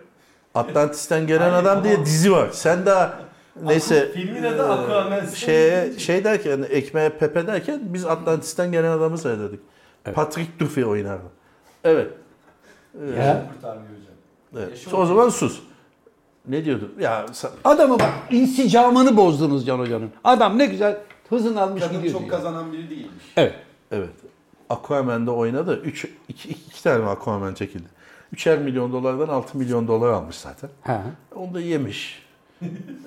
Speaker 2: Atlantis'ten gelen
Speaker 3: Hayır,
Speaker 2: adam diye
Speaker 3: tamam.
Speaker 2: dizi var. Sen daha neyse
Speaker 3: E, Filmin adı Aquaman.
Speaker 2: Ee, şey şey derken ekmeğe pepe derken biz Atlantis'ten gelen adamı söyledik. Patrick Duffy oynardı. Evet.
Speaker 1: Ya.
Speaker 3: Kurtarmıyor hocam.
Speaker 2: evet.
Speaker 3: Yaşa
Speaker 2: O zaman sus. Ne diyordum? Ya sa-
Speaker 1: Adamı bak insicamını bozdunuz Can Hoca'nın. Adam ne güzel hızını almış
Speaker 3: Kadın
Speaker 2: Şey
Speaker 1: gidiyor.
Speaker 3: çok
Speaker 1: diyor.
Speaker 3: kazanan biri değilmiş.
Speaker 1: Evet.
Speaker 2: Evet. Aquaman'da oynadı. 3 2 2 tane Aquaman çekildi. 3'er milyon dolardan 6 milyon dolar almış zaten.
Speaker 1: Ha.
Speaker 2: Onu da yemiş.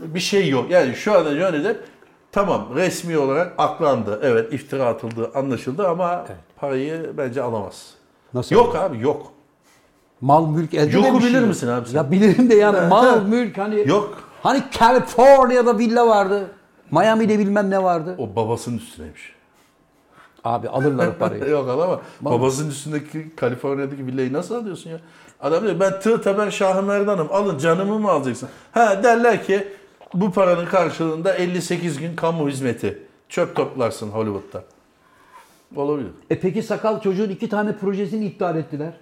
Speaker 2: bir şey yok. Yani şu anda Johnny Depp tamam resmi olarak aklandı. Evet iftira atıldı anlaşıldı ama parayı bence alamaz.
Speaker 1: Nasıl?
Speaker 2: yok abi yok.
Speaker 1: Mal mülk elde
Speaker 2: Yoku
Speaker 1: edememiş
Speaker 2: bilir
Speaker 1: yani.
Speaker 2: misin abi sen?
Speaker 1: Ya bilirim de yani mal
Speaker 2: Ha.
Speaker 1: mülk hani.
Speaker 2: Yok.
Speaker 1: Hani California'da villa vardı. Miami'de bilmem ne vardı.
Speaker 2: O babasının üstüneymiş.
Speaker 1: Abi alırlar o parayı.
Speaker 2: yok ama babasının üstündeki Kaliforniya'daki villayı nasıl alıyorsun ya? Adam diyor ben tığ teber Şahı Merdan'ım alın canımı mı alacaksın? Ha derler ki bu paranın karşılığında 58 gün kamu hizmeti. Çöp toplarsın Hollywood'da. Olabilir.
Speaker 1: e peki sakal çocuğun iki tane projesini iptal ettiler.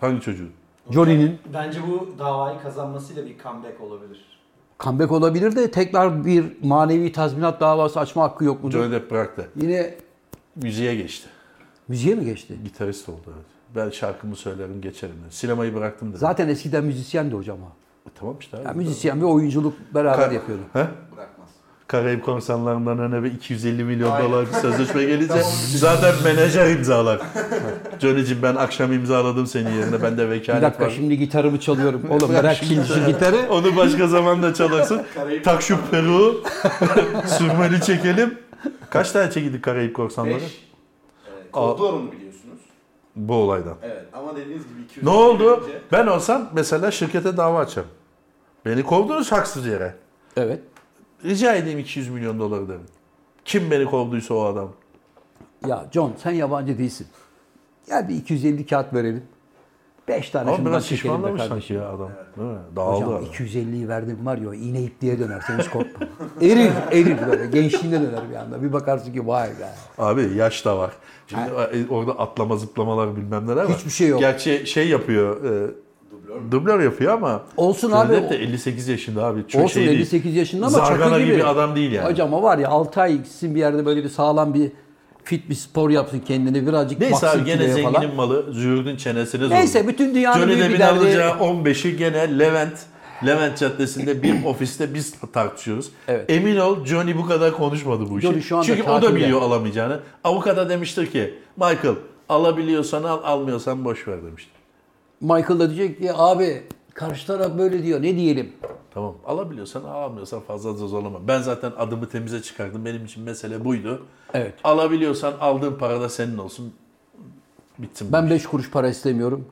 Speaker 2: Hangi çocuğu?
Speaker 1: Johnny'nin.
Speaker 3: Bence bu davayı kazanmasıyla bir comeback olabilir.
Speaker 1: Comeback olabilir de tekrar bir manevi tazminat davası açma hakkı yok mudur?
Speaker 2: Johnny Depp bıraktı.
Speaker 1: Yine
Speaker 2: Müziğe geçti.
Speaker 1: müziğe mi geçti?
Speaker 2: Gitarist oldu. Evet. Ben şarkımı söylerim geçerim. dedi. Sinemayı bıraktım dedi.
Speaker 1: Zaten eskiden müzisyendi hocam o.
Speaker 2: E, tamam işte abi.
Speaker 1: Ya müzisyen ve oyunculuk beraber yapıyordu.
Speaker 2: He?
Speaker 3: Bırakmaz.
Speaker 2: Karayip konsanlarından öne bir 250 milyon dolar bir sözleşme gelince zaten menajer imzalar. Johnny'cim ben akşam imzaladım senin yerine. Ben de
Speaker 1: Bir
Speaker 2: vekalet
Speaker 1: dakika
Speaker 2: var.
Speaker 1: şimdi gitarımı çalıyorum. Oğlum bırak şimdi şu gitarı.
Speaker 2: Onu başka zaman da çalarsın.
Speaker 3: Karayip
Speaker 2: tak şu peruğu. Sürmeli çekelim. Kaç tane çekildi Karayip korsanları?
Speaker 3: 5. Evet, Kodor'u mu biliyorsunuz?
Speaker 2: Bu olaydan.
Speaker 3: Evet ama dediğiniz gibi 200
Speaker 2: Ne oldu? Ben olsam mesela şirkete dava açarım. Beni kovdunuz haksız yere.
Speaker 1: Evet.
Speaker 2: Rica edeyim 200 milyon doları derim. Kim beni kovduysa o adam.
Speaker 1: Ya John sen yabancı değilsin. Gel bir 250 kağıt verelim. 5 tane
Speaker 2: Ama
Speaker 1: şundan
Speaker 2: biraz
Speaker 1: çekelim be
Speaker 2: şişmanlamış sanki
Speaker 1: kardeşim.
Speaker 2: ya adam. Değil mi? Dağıldı
Speaker 1: Hocam
Speaker 2: adam.
Speaker 1: 250'yi verdim var ya o iğne ipliğe döner sen hiç korkma. erir erir böyle gençliğine döner bir anda. Bir bakarsın ki vay be.
Speaker 2: Abi yaş da var. Şimdi e, orada atlama zıplamalar bilmem neler var.
Speaker 1: Hiçbir şey yok.
Speaker 2: Gerçi şey yapıyor. E,
Speaker 3: Dublör
Speaker 2: dublör yapıyor ama.
Speaker 1: Olsun
Speaker 2: Johnny
Speaker 1: abi,
Speaker 2: Depp
Speaker 1: o-
Speaker 2: de 58 yaşında abi. Çok
Speaker 1: Olsun
Speaker 2: şey değil.
Speaker 1: 58 yaşında ama
Speaker 2: Zargana
Speaker 1: çakı gibi.
Speaker 2: gibi. adam değil yani.
Speaker 1: Hocam o var ya 6 ay gitsin bir yerde böyle bir sağlam bir fit bir spor yapsın kendine birazcık
Speaker 2: Neyse
Speaker 1: baksın
Speaker 2: abi gene
Speaker 1: kiloya
Speaker 2: zenginin
Speaker 1: falan.
Speaker 2: malı züğürdün çenesine zorlu.
Speaker 1: Neyse bütün dünyanın
Speaker 2: Johnny
Speaker 1: büyük
Speaker 2: Depp'in
Speaker 1: bir derdi.
Speaker 2: alacağı 15'i gene Levent. Levent Caddesi'nde bir ofiste biz tartışıyoruz.
Speaker 1: Evet.
Speaker 2: Emin ol Johnny bu kadar konuşmadı bu işi.
Speaker 1: Johnny şu anda
Speaker 2: Çünkü o da
Speaker 1: tatilde.
Speaker 2: biliyor alamayacağını. Avukata demiştir ki Michael alabiliyorsan al almıyorsan boş ver demiştir.
Speaker 1: Michael da diyecek ki abi karşı taraf böyle diyor ne diyelim.
Speaker 2: Tamam alabiliyorsan alamıyorsan fazla da zorlama. Ben zaten adımı temize çıkardım. Benim için mesele buydu.
Speaker 1: Evet.
Speaker 2: Alabiliyorsan aldığın para da senin olsun. Bitsin. bu
Speaker 1: Ben
Speaker 2: iş.
Speaker 1: 5 kuruş para istemiyorum.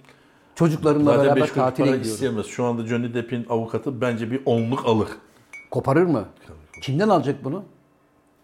Speaker 1: Çocuklarımla
Speaker 2: Zaten
Speaker 1: beraber
Speaker 2: 5 kuruş
Speaker 1: tatile
Speaker 2: para
Speaker 1: gidiyorum.
Speaker 2: isteyemez. Şu anda Johnny Depp'in avukatı bence bir onluk alır.
Speaker 1: Koparır mı? Kimden alacak bunu?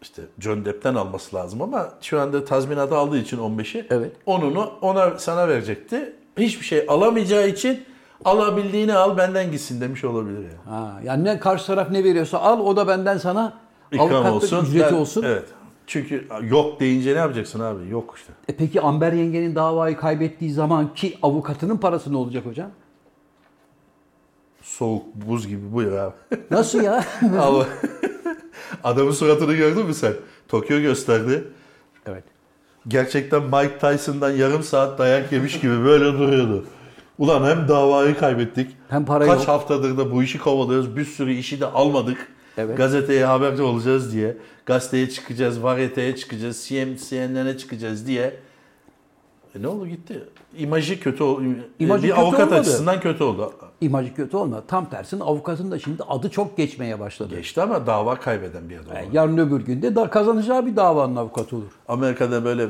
Speaker 2: İşte John Depp'ten alması lazım ama şu anda tazminatı aldığı için 15'i
Speaker 1: Evet.
Speaker 2: onunu ona sana verecekti. Hiçbir şey alamayacağı için alabildiğini al benden gitsin demiş olabilir yani.
Speaker 1: Ha, yani ne karşı taraf ne veriyorsa al o da benden sana
Speaker 2: İkram
Speaker 1: avukatlık
Speaker 2: olsun.
Speaker 1: ücreti
Speaker 2: ben-
Speaker 1: olsun.
Speaker 2: Evet. Çünkü yok deyince ne yapacaksın abi? Yok işte.
Speaker 1: E peki Amber yengenin davayı kaybettiği zaman ki avukatının parası ne olacak hocam?
Speaker 2: Soğuk buz gibi buyur abi.
Speaker 1: Nasıl ya?
Speaker 2: Ama adamın suratını gördün mü sen? Tokyo gösterdi.
Speaker 1: evet.
Speaker 2: gerçekten Mike Tyson'dan yarım saat dayak yemiş gibi böyle duruyordu. Ulan hem davayı kaybettik.
Speaker 1: Hem parayı
Speaker 2: Kaç
Speaker 1: yok.
Speaker 2: haftadır da bu işi kovalıyoruz. Bir sürü işi de almadık.
Speaker 1: Evet.
Speaker 2: Gazeteye haberci olacağız diye. Gazeteye çıkacağız, varyeteye çıkacağız, CM, CNN'e çıkacağız diye. E ne oldu gitti. İmajı kötü oldu.
Speaker 1: İmajı
Speaker 2: bir
Speaker 1: kötü
Speaker 2: avukat
Speaker 1: olmadı.
Speaker 2: açısından kötü oldu.
Speaker 1: İmajı kötü olma. Tam tersine avukatın da şimdi adı çok geçmeye başladı.
Speaker 2: Geçti ama dava kaybeden bir adam.
Speaker 1: Yani
Speaker 2: oldu.
Speaker 1: yarın öbür günde da kazanacağı bir davanın avukatı olur.
Speaker 2: Amerika'da böyle e,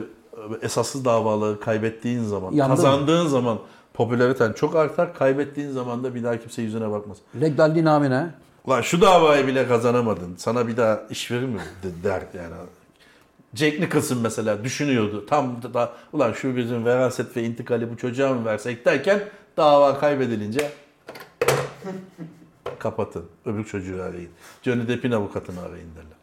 Speaker 2: esaslı davaları kaybettiğin zaman,
Speaker 1: Yandı mı?
Speaker 2: kazandığın zaman popülariten çok artar, kaybettiğin zaman da bir daha kimse yüzüne bakmaz.
Speaker 1: Regdal dinamine.
Speaker 2: Ulan şu davayı bile kazanamadın, sana bir daha iş verir mi De- der yani. Jack Nicholson mesela düşünüyordu. Tam da- da ulan şu bizim veraset ve intikali bu çocuğa mı versek derken dava kaybedilince kapatın. Öbür çocuğu arayın. Johnny Depp'in avukatını arayın derler.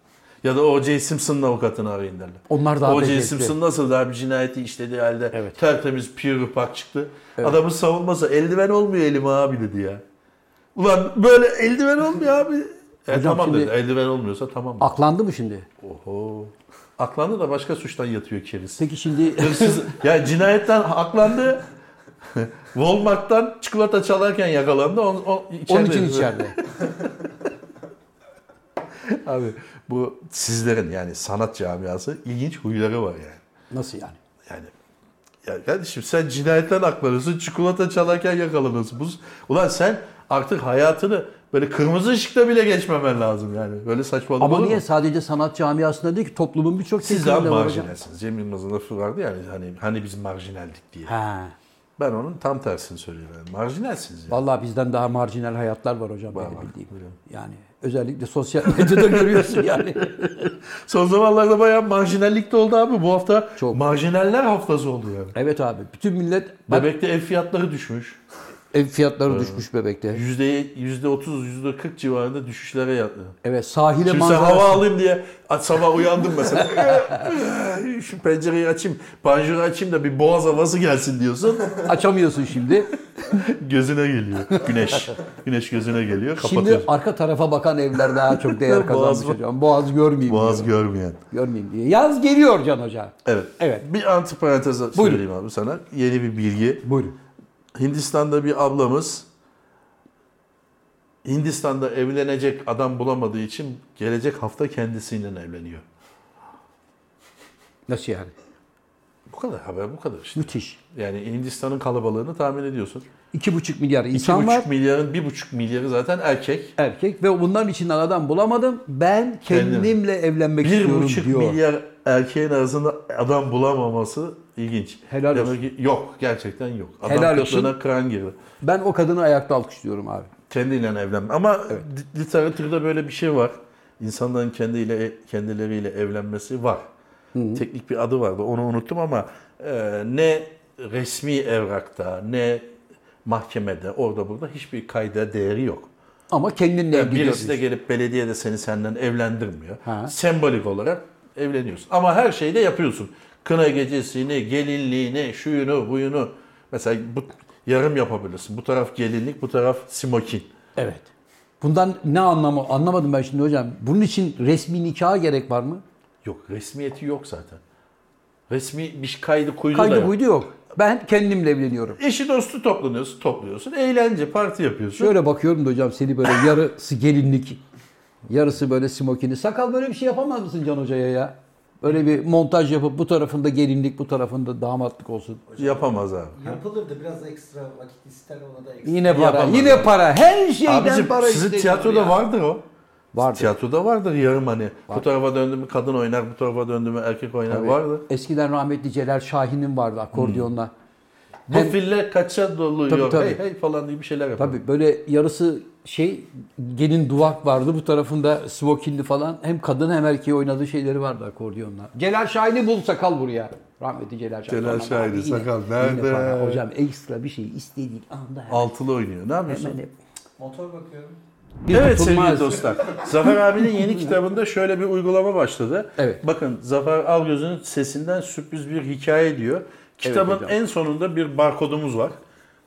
Speaker 2: Ya da O.J. Simpson'ın avukatını arayın derler.
Speaker 1: Onlar daha
Speaker 2: O.J.
Speaker 1: becerikli.
Speaker 2: Simpson nasıl daha bir cinayeti işlediği halde
Speaker 1: Evet.
Speaker 2: tertemiz pure pak çıktı. Adamın savunması eldiven olmuyor elime abi dedi ya. Ulan böyle eldiven olmuyor abi. E,
Speaker 1: Hocam
Speaker 2: tamam
Speaker 1: şimdi-
Speaker 2: dedi. Eldiven olmuyorsa tamam. dedi.
Speaker 1: Aklandı mı şimdi?
Speaker 2: Oho. Aklandı da başka suçtan yatıyor kerisi.
Speaker 1: Peki şimdi
Speaker 2: Hırsız, ya cinayetten aklandı. Walmart'tan çikolata çalarken yakalandı. On, on,
Speaker 1: onun
Speaker 2: içeride-
Speaker 1: için içeride.
Speaker 2: Abi bu sizlerin yani sanat camiası ilginç huyları var yani.
Speaker 1: Nasıl yani?
Speaker 2: Yani ya kardeşim sen cinayetten aklanıyorsun, çikolata çalarken yakalanıyorsun. Bu, ulan sen artık hayatını böyle kırmızı ışıkta bile geçmemen lazım yani. Böyle saçmalık
Speaker 1: Ama
Speaker 2: olur
Speaker 1: niye
Speaker 2: mu?
Speaker 1: sadece sanat camiasında değil ki toplumun birçok
Speaker 2: Siz
Speaker 1: kesiminde
Speaker 2: daha
Speaker 1: var hocam.
Speaker 2: marjinalsiniz. Cem Yılmaz'ın lafı vardı yani hani, hani biz marjinaldik diye.
Speaker 1: He.
Speaker 2: Ben onun tam tersini söylüyorum. Yani marjinalsiniz yani.
Speaker 1: Vallahi bizden daha marjinal hayatlar var hocam benim
Speaker 2: Var,
Speaker 1: bildiğim.
Speaker 2: hocam.
Speaker 1: Yani özellikle sosyal medyada görüyorsun yani.
Speaker 2: Son zamanlarda bayağı marjinallik de oldu abi. Bu hafta
Speaker 1: Çok.
Speaker 2: marjinaller haftası oldu yani.
Speaker 1: Evet abi bütün millet bak,
Speaker 2: Bebekte ev fiyatları düşmüş.
Speaker 1: ev fiyatları düşmüş bebekte.
Speaker 2: Yüzde, yüzde %30, yüzde %40 civarında düşüşlere yattı.
Speaker 1: Evet sahile
Speaker 2: Şimdi sen
Speaker 1: manzarası.
Speaker 2: hava alayım diye at- sabah uyandım mesela. Şu pencereyi açayım, panjuru açayım da bir boğaz havası gelsin diyorsun.
Speaker 1: Açamıyorsun şimdi.
Speaker 2: Gözüne geliyor güneş. Güneş gözüne geliyor, kapatıyor.
Speaker 1: Şimdi arka tarafa bakan evler daha çok değer kazanmış
Speaker 2: Boğaz-
Speaker 1: hocam. Boğaz görmeyeyim
Speaker 2: boğaz
Speaker 1: diyor.
Speaker 2: görmeyen.
Speaker 1: Görmeyeyim diye. Yaz geliyor Can Hoca.
Speaker 2: Evet.
Speaker 1: Evet.
Speaker 2: Bir antiparantez
Speaker 1: Buyurun.
Speaker 2: söyleyeyim abi sana. Yeni bir bilgi.
Speaker 1: Buyurun.
Speaker 2: Hindistan'da bir ablamız Hindistan'da evlenecek adam bulamadığı için gelecek hafta kendisiyle evleniyor.
Speaker 1: Nasıl yani?
Speaker 2: Bu kadar haber bu kadar işte.
Speaker 1: Müthiş.
Speaker 2: Yani Hindistan'ın kalabalığını tahmin ediyorsun.
Speaker 1: İki buçuk milyar insan
Speaker 2: 2,5
Speaker 1: var.
Speaker 2: milyarın 1,5 milyarı zaten erkek.
Speaker 1: Erkek ve bunların içinden adam bulamadım. Ben
Speaker 2: Kendim.
Speaker 1: kendimle evlenmek istiyorum
Speaker 2: 1,5
Speaker 1: diyor.
Speaker 2: milyar erkeğin arasında adam bulamaması ilginç.
Speaker 1: Helal
Speaker 2: Demek
Speaker 1: olsun.
Speaker 2: ki yok gerçekten yok. Adam
Speaker 1: Helal
Speaker 2: kıtlığına kıran girdi.
Speaker 1: Ben o kadını ayakta alkışlıyorum abi.
Speaker 2: Kendiyle evlenme. Ama li- literatürde böyle bir şey var. İnsanların kendiyle e- kendileriyle evlenmesi var. Teknik bir adı vardı. Onu unuttum ama e, ne resmi evrakta ne mahkemede orada burada hiçbir kayda değeri yok.
Speaker 1: Ama kendinle
Speaker 2: Yani
Speaker 1: ilgili.
Speaker 2: birisi de gelip belediye de seni senden evlendirmiyor.
Speaker 1: Ha.
Speaker 2: Sembolik olarak evleniyorsun. Ama her şeyi de yapıyorsun. Kına gecesini, gelinliğini, şuyunu, buyunu. Mesela bu yarım yapabilirsin. Bu taraf gelinlik, bu taraf smokin.
Speaker 1: Evet. Bundan ne anlamı anlamadım ben şimdi hocam. Bunun için resmi nikaha gerek var mı?
Speaker 2: Yok resmiyeti yok zaten. Resmi bir kaydı kuydu da
Speaker 1: Kaydı
Speaker 2: yok.
Speaker 1: buydu yok. Ben kendimle evleniyorum.
Speaker 2: Eşi dostu toplanıyorsun, topluyorsun. Eğlence, parti yapıyorsun.
Speaker 1: Şöyle bakıyorum da hocam seni böyle yarısı gelinlik, yarısı böyle smokini. Sakal böyle bir şey yapamaz mısın Can Hoca'ya ya? Böyle bir montaj yapıp bu tarafında gelinlik, bu tarafında damatlık olsun.
Speaker 2: Yapamaz abi.
Speaker 3: Yapılır da biraz ekstra vakit ister ona da ekstra.
Speaker 1: Yine para,
Speaker 2: Yapamaz.
Speaker 1: yine para. Her şeyden
Speaker 2: Abicim
Speaker 1: para
Speaker 2: sizin
Speaker 1: isteniyor
Speaker 2: tiyatroda
Speaker 1: ya.
Speaker 2: vardır o.
Speaker 1: Vardır.
Speaker 2: Tiyatroda vardır yarım hani. Bu tarafa döndü mü kadın oynar, bu tarafa döndü mü erkek oynar
Speaker 1: Tabii.
Speaker 2: vardır.
Speaker 1: Eskiden rahmetli Celal Şahin'in vardı akordiyonla.
Speaker 2: Bu
Speaker 1: Hem-
Speaker 2: filler kaça doluyor?
Speaker 1: Tabii, tabii.
Speaker 2: Hey hey falan diye bir şeyler yapar.
Speaker 1: Tabii böyle yarısı şey gelin duvak vardı bu tarafında smokinli falan hem kadın hem erkeği oynadığı şeyleri vardı akordiyonla. Celal Şahin'i bul sakal buraya. Rahmetli Celal Şahin.
Speaker 2: Celal
Speaker 1: Aman
Speaker 2: Şahin'i
Speaker 1: abi
Speaker 2: sakal
Speaker 1: yine
Speaker 2: nerede?
Speaker 1: para. Hocam ekstra bir şey istediğin anda hemen.
Speaker 2: Altılı oynuyor. Ne yapıyorsun?
Speaker 1: hemen hep.
Speaker 3: Motor bakıyorum.
Speaker 1: Bir
Speaker 2: evet
Speaker 1: tutulmaz.
Speaker 2: sevgili dostlar. Zafer abinin yeni kitabında şöyle bir uygulama başladı.
Speaker 1: Evet.
Speaker 2: Bakın Zafer Algöz'ün sesinden sürpriz bir hikaye diyor. Kitabın
Speaker 1: hocam.
Speaker 2: en sonunda bir barkodumuz var.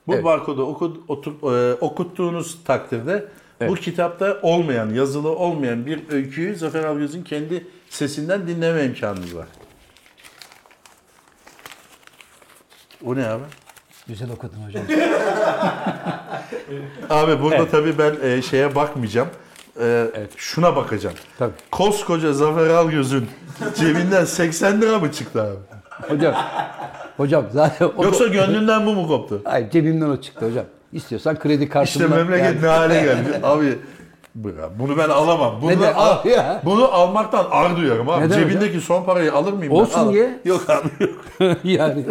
Speaker 2: Bu
Speaker 1: Evet.
Speaker 2: barkodu oku- otur- e, okuttuğunuz takdirde bu
Speaker 1: Evet.
Speaker 2: kitapta olmayan, yazılı olmayan bir öyküyü Zafer Algöz'ün kendi sesinden dinleme imkanınız var. O ne abi?
Speaker 1: Güzel okudun hocam.
Speaker 2: Abi burada tabii ben e, şeye bakmayacağım. E, Şuna bakacağım.
Speaker 1: Tabii.
Speaker 2: Koskoca Zafer Algöz'ün cebinden 80 lira mı çıktı abi?
Speaker 1: Hocam. Hocam zaten o
Speaker 2: Yoksa gönlünden bu mu koptu?
Speaker 1: Hayır cebimden o çıktı hocam. İstiyorsan kredi
Speaker 2: İşte
Speaker 1: kartımdan.
Speaker 2: memleket
Speaker 1: yani-
Speaker 2: ne hale geldi. Abi bırak. bunu ben alamam. Bunu,
Speaker 1: Neden?
Speaker 2: ben al-
Speaker 1: Al ya.
Speaker 2: bunu almaktan ar duyuyorum abi.
Speaker 1: Neden
Speaker 2: Cebindeki son parayı alır mıyım? ben?
Speaker 1: Olsun
Speaker 2: Al.
Speaker 1: ye.
Speaker 2: Yok abi.
Speaker 1: yani.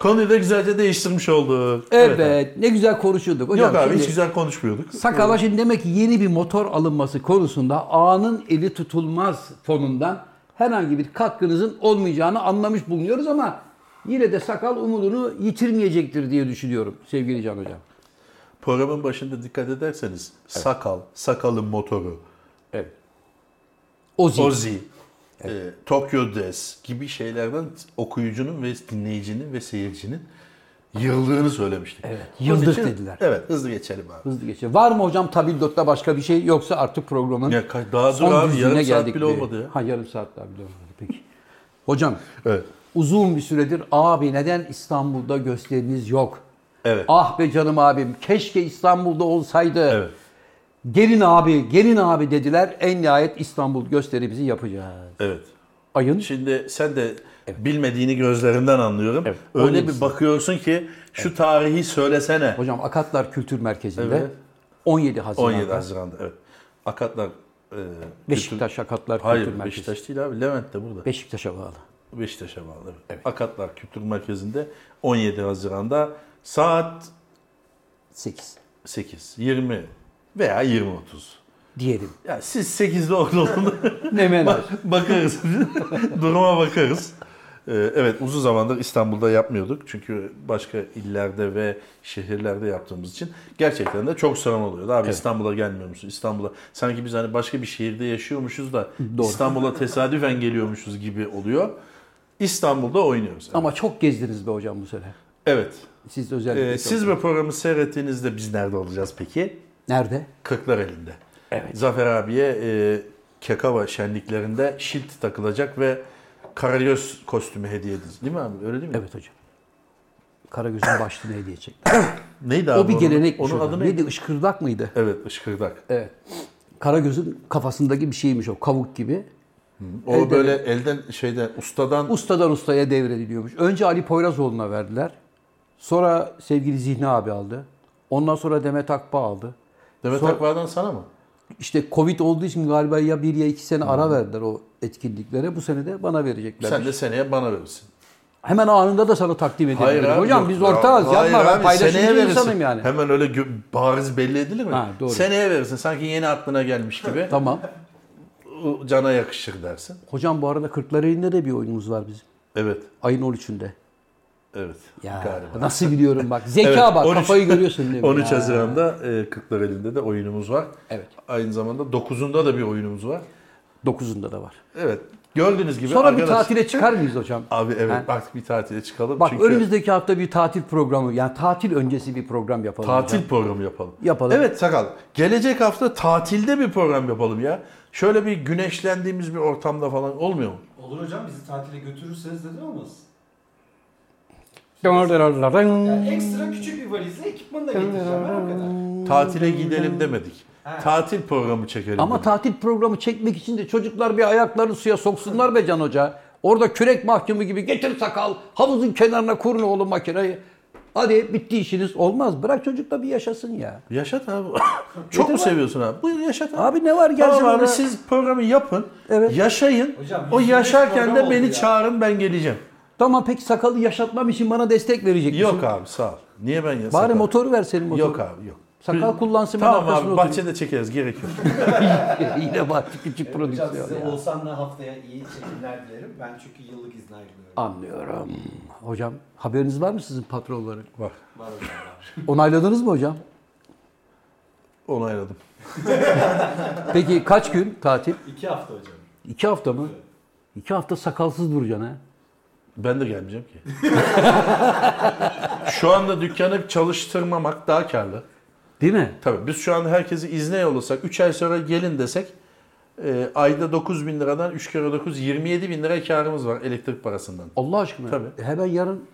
Speaker 2: Konuyu da güzelce değiştirmiş olduk.
Speaker 1: Evet,
Speaker 2: abi.
Speaker 1: ne güzel konuşuyorduk. Hocam
Speaker 2: Yok abi
Speaker 1: şimdi-
Speaker 2: hiç güzel konuşmuyorduk.
Speaker 1: Sakala şimdi demek ki yeni bir motor alınması konusunda anın eli tutulmaz fonundan herhangi bir katkınızın olmayacağını anlamış bulunuyoruz ama yine de sakal umudunu yitirmeyecektir diye düşünüyorum sevgili Can Hocam.
Speaker 2: Programın başında dikkat ederseniz sakal, sakalın motoru,
Speaker 1: Evet. Ozi.
Speaker 2: Ozi, e, Tokyo Dress gibi şeylerden okuyucunun ve dinleyicinin ve seyircinin yıldığını söylemiştik. Evet,
Speaker 1: yıldık dediler.
Speaker 2: Evet, hızlı geçelim abi.
Speaker 1: Hızlı geçiyor. Var mı hocam tabildot'ta başka bir şey yoksa artık programın
Speaker 2: Ya ka- daha dur
Speaker 1: son
Speaker 2: abi
Speaker 1: düzlüğüne
Speaker 2: yarım saat
Speaker 1: geldik.
Speaker 2: bile
Speaker 1: mi?
Speaker 2: olmadı ya.
Speaker 1: Ha yarım saat daha bile olmadı peki. Hocam
Speaker 2: Evet.
Speaker 1: uzun bir süredir abi neden İstanbul'da gösteriniz yok?
Speaker 2: Evet.
Speaker 1: Ah be canım abim keşke İstanbul'da olsaydı.
Speaker 2: Evet.
Speaker 1: Gelin abi, gelin abi dediler. En nihayet İstanbul gösterimizi yapacağız.
Speaker 2: Evet.
Speaker 1: Ayın
Speaker 2: Şimdi sen de bilmediğini gözlerinden anlıyorum.
Speaker 1: Evet, onun
Speaker 2: Öyle
Speaker 1: için.
Speaker 2: bir bakıyorsun ki şu tarihi söylesene.
Speaker 1: hocam Akatlar Kültür Merkezi'nde
Speaker 2: Evet.
Speaker 1: 17 Haziran'da
Speaker 2: 17 Haziran'da. Evet. Akatlar e,
Speaker 1: Beşiktaş Akatlar
Speaker 2: Kültür- Hayır
Speaker 1: Kültür Merkezi.
Speaker 2: Beşiktaş değil abi Levent de burada.
Speaker 1: Beşiktaş'a bağlı.
Speaker 2: Beşiktaş'a bağlı. Evet. Akatlar Kültür Merkezi'nde 17 Haziran'da saat
Speaker 1: 8
Speaker 2: 8, 20 veya 20.30.
Speaker 1: diyelim.
Speaker 2: Ya siz 8'de orada olun.
Speaker 1: Ne menaj.
Speaker 2: bakarız. Duruma bakarız. Ee, evet uzun zamandır İstanbul'da yapmıyorduk. Çünkü başka illerde ve şehirlerde yaptığımız için gerçekten de çok sorun oluyordu. Abi İstanbul'a gelmiyor musun? İstanbul'a sanki biz hani başka bir şehirde yaşıyormuşuz da
Speaker 1: Doğru.
Speaker 2: İstanbul'a tesadüfen geliyormuşuz gibi oluyor. İstanbul'da oynuyoruz. Evet.
Speaker 1: Ama çok gezdiniz be hocam bu sefer.
Speaker 2: evet.
Speaker 1: Siz
Speaker 2: Ee,
Speaker 1: özellikle. çok-
Speaker 2: siz bu programı seyrettiğinizde biz nerede olacağız peki?
Speaker 1: Nerede?
Speaker 2: Kırklar elinde. Zafer abiye e, Kekava şenliklerinde şilt takılacak ve karagöz kostümü hediye edildi. Değil mi abi? Öyle değil mi?
Speaker 1: Evet hocam. Karagöz'ün başlığını hediye çekti.
Speaker 2: Neydi abi?
Speaker 1: O bir
Speaker 2: onun-
Speaker 1: gelenek.
Speaker 2: Onun adı neydi?
Speaker 1: Neydi? Işkırdak mıydı?
Speaker 2: Evet, ışkırdak.
Speaker 1: Evet. Karagöz'ün kafasındaki bir şeymiş o. Kavuk gibi.
Speaker 2: O
Speaker 1: Elden-
Speaker 2: böyle elden şeyden ustadan
Speaker 1: Ustadan ustaya devrediliyormuş. Önce Ali Poyrazoğlu'na verdiler. Sonra sevgili Zihni abi aldı. Ondan sonra Demet Akba aldı.
Speaker 2: Demet
Speaker 1: Sonra-
Speaker 2: Akbağ'dan sana mı?
Speaker 1: İşte Covid olduğu için galiba ya bir ya iki sene ara verdiler o etkinliklere. Bu sene de bana verecekler.
Speaker 2: Hmm. Sen de seneye bana verirsin.
Speaker 1: Hemen anında da sana takdim edebilirim. Hocam
Speaker 2: yok.
Speaker 1: biz ortağız.
Speaker 2: Hayır
Speaker 1: yapma ben
Speaker 2: abi, seneye
Speaker 1: paylaşımcı
Speaker 2: verirsin.
Speaker 1: insanım yani.
Speaker 2: Hemen öyle gö- bariz belli edilir mi?
Speaker 1: Ha, doğru.
Speaker 2: Seneye verirsin. Sanki yeni aklına gelmiş gibi.
Speaker 1: Tamam.
Speaker 2: O Cana yakışır dersin.
Speaker 1: Hocam bu arada Kırklareli'nde de bir oyunumuz var bizim.
Speaker 2: Evet.
Speaker 1: Ayın 13'ünde.
Speaker 2: Evet.
Speaker 1: Ya
Speaker 2: Galiba.
Speaker 1: nasıl biliyorum bak. Zeka
Speaker 2: Evet,
Speaker 1: bak
Speaker 2: 13
Speaker 1: kafayı görüyorsun değil mi?
Speaker 2: 13
Speaker 1: Ya.
Speaker 2: Haziran'da e, Kırklareli'nde de oyunumuz var.
Speaker 1: Evet.
Speaker 2: Aynı zamanda 9'unda da bir oyunumuz var.
Speaker 1: 9'unda da var.
Speaker 2: Evet. Gördüğünüz gibi
Speaker 1: Sonra bir
Speaker 2: arkadaş-
Speaker 1: tatile çıkar mıyız hocam?
Speaker 2: Abi evet
Speaker 1: Ha?
Speaker 2: artık bir tatile çıkalım.
Speaker 1: Bak
Speaker 2: Çünkü
Speaker 1: önümüzdeki hafta bir tatil programı yani tatil öncesi bir program yapalım.
Speaker 2: tatil
Speaker 1: hocam.
Speaker 2: programı yapalım.
Speaker 1: Yapalım.
Speaker 2: Evet Sakal. Gelecek hafta tatilde bir program yapalım ya. Şöyle bir güneşlendiğimiz bir ortamda falan olmuyor mu?
Speaker 3: Olur hocam bizi tatile götürürseniz neden olmaz?
Speaker 1: Hmm.
Speaker 3: Yani ekstra küçük bir valizle ekipmanı da getireceğim ben o
Speaker 1: Hmm.
Speaker 3: kadar.
Speaker 2: Tatile gidelim demedik. Tatil programı çekelim.
Speaker 1: Ama
Speaker 2: dedik.
Speaker 1: tatil programı çekmek için de çocuklar bir ayaklarını suya soksunlar be Can Hoca. Orada kürek mahkumu gibi getir sakal havuzun kenarına kurun oğlum makineyi. Hadi bitti işiniz olmaz. Bırak çocuk da bir yaşasın ya.
Speaker 2: Yaşat abi. Çok mu seviyorsun abi? Buyur yaşat abi.
Speaker 1: Abi ne var gelsin
Speaker 2: Tamam abi
Speaker 1: orada.
Speaker 2: siz programı yapın.
Speaker 1: Evet.
Speaker 2: Yaşayın.
Speaker 3: Hocam,
Speaker 2: o
Speaker 3: 105
Speaker 2: yaşarken
Speaker 3: program
Speaker 2: de
Speaker 3: oldu
Speaker 2: beni
Speaker 3: ya.
Speaker 2: çağırın ben geleceğim.
Speaker 1: Tamam peki sakalı yaşatmam için bana destek verecek misin?
Speaker 2: Yok abi sağ ol. Niye ben ya?
Speaker 1: Bari
Speaker 2: sakal?
Speaker 1: motoru ver senin motoru.
Speaker 2: Yok abi yok.
Speaker 1: Sakal kullansın ben
Speaker 2: Tamam
Speaker 1: arkasına
Speaker 2: abi
Speaker 1: oturayım.
Speaker 2: bahçede çekeriz gerek yok.
Speaker 1: Yine bak küçük
Speaker 3: Hocam
Speaker 1: prodüksiyon
Speaker 3: size
Speaker 1: ya.
Speaker 3: Oğuzhan'la haftaya iyi çekimler dilerim. Ben çünkü yıllık izne ayrılıyorum.
Speaker 1: Anlıyorum. Hocam haberiniz var mı sizin patronların?
Speaker 2: Bak
Speaker 3: Var hocam var.
Speaker 1: Onayladınız mı hocam?
Speaker 2: onayladım.
Speaker 1: Peki kaç gün tatil?
Speaker 3: İki hafta hocam.
Speaker 1: İki hafta mı? İki hafta sakalsız duracaksın ha.
Speaker 2: Ben de gelmeyeceğim ki. şu anda dükkanı çalıştırmamak daha karlı.
Speaker 1: Değil mi?
Speaker 2: Tabii biz şu anda herkesi izne yollasak, 3 ay sonra gelin desek e, ayda 9 bin liradan 3 kere 9, 27 bin lira karımız var elektrik parasından.
Speaker 1: Allah aşkına.
Speaker 2: Tabii.
Speaker 1: Hemen yarın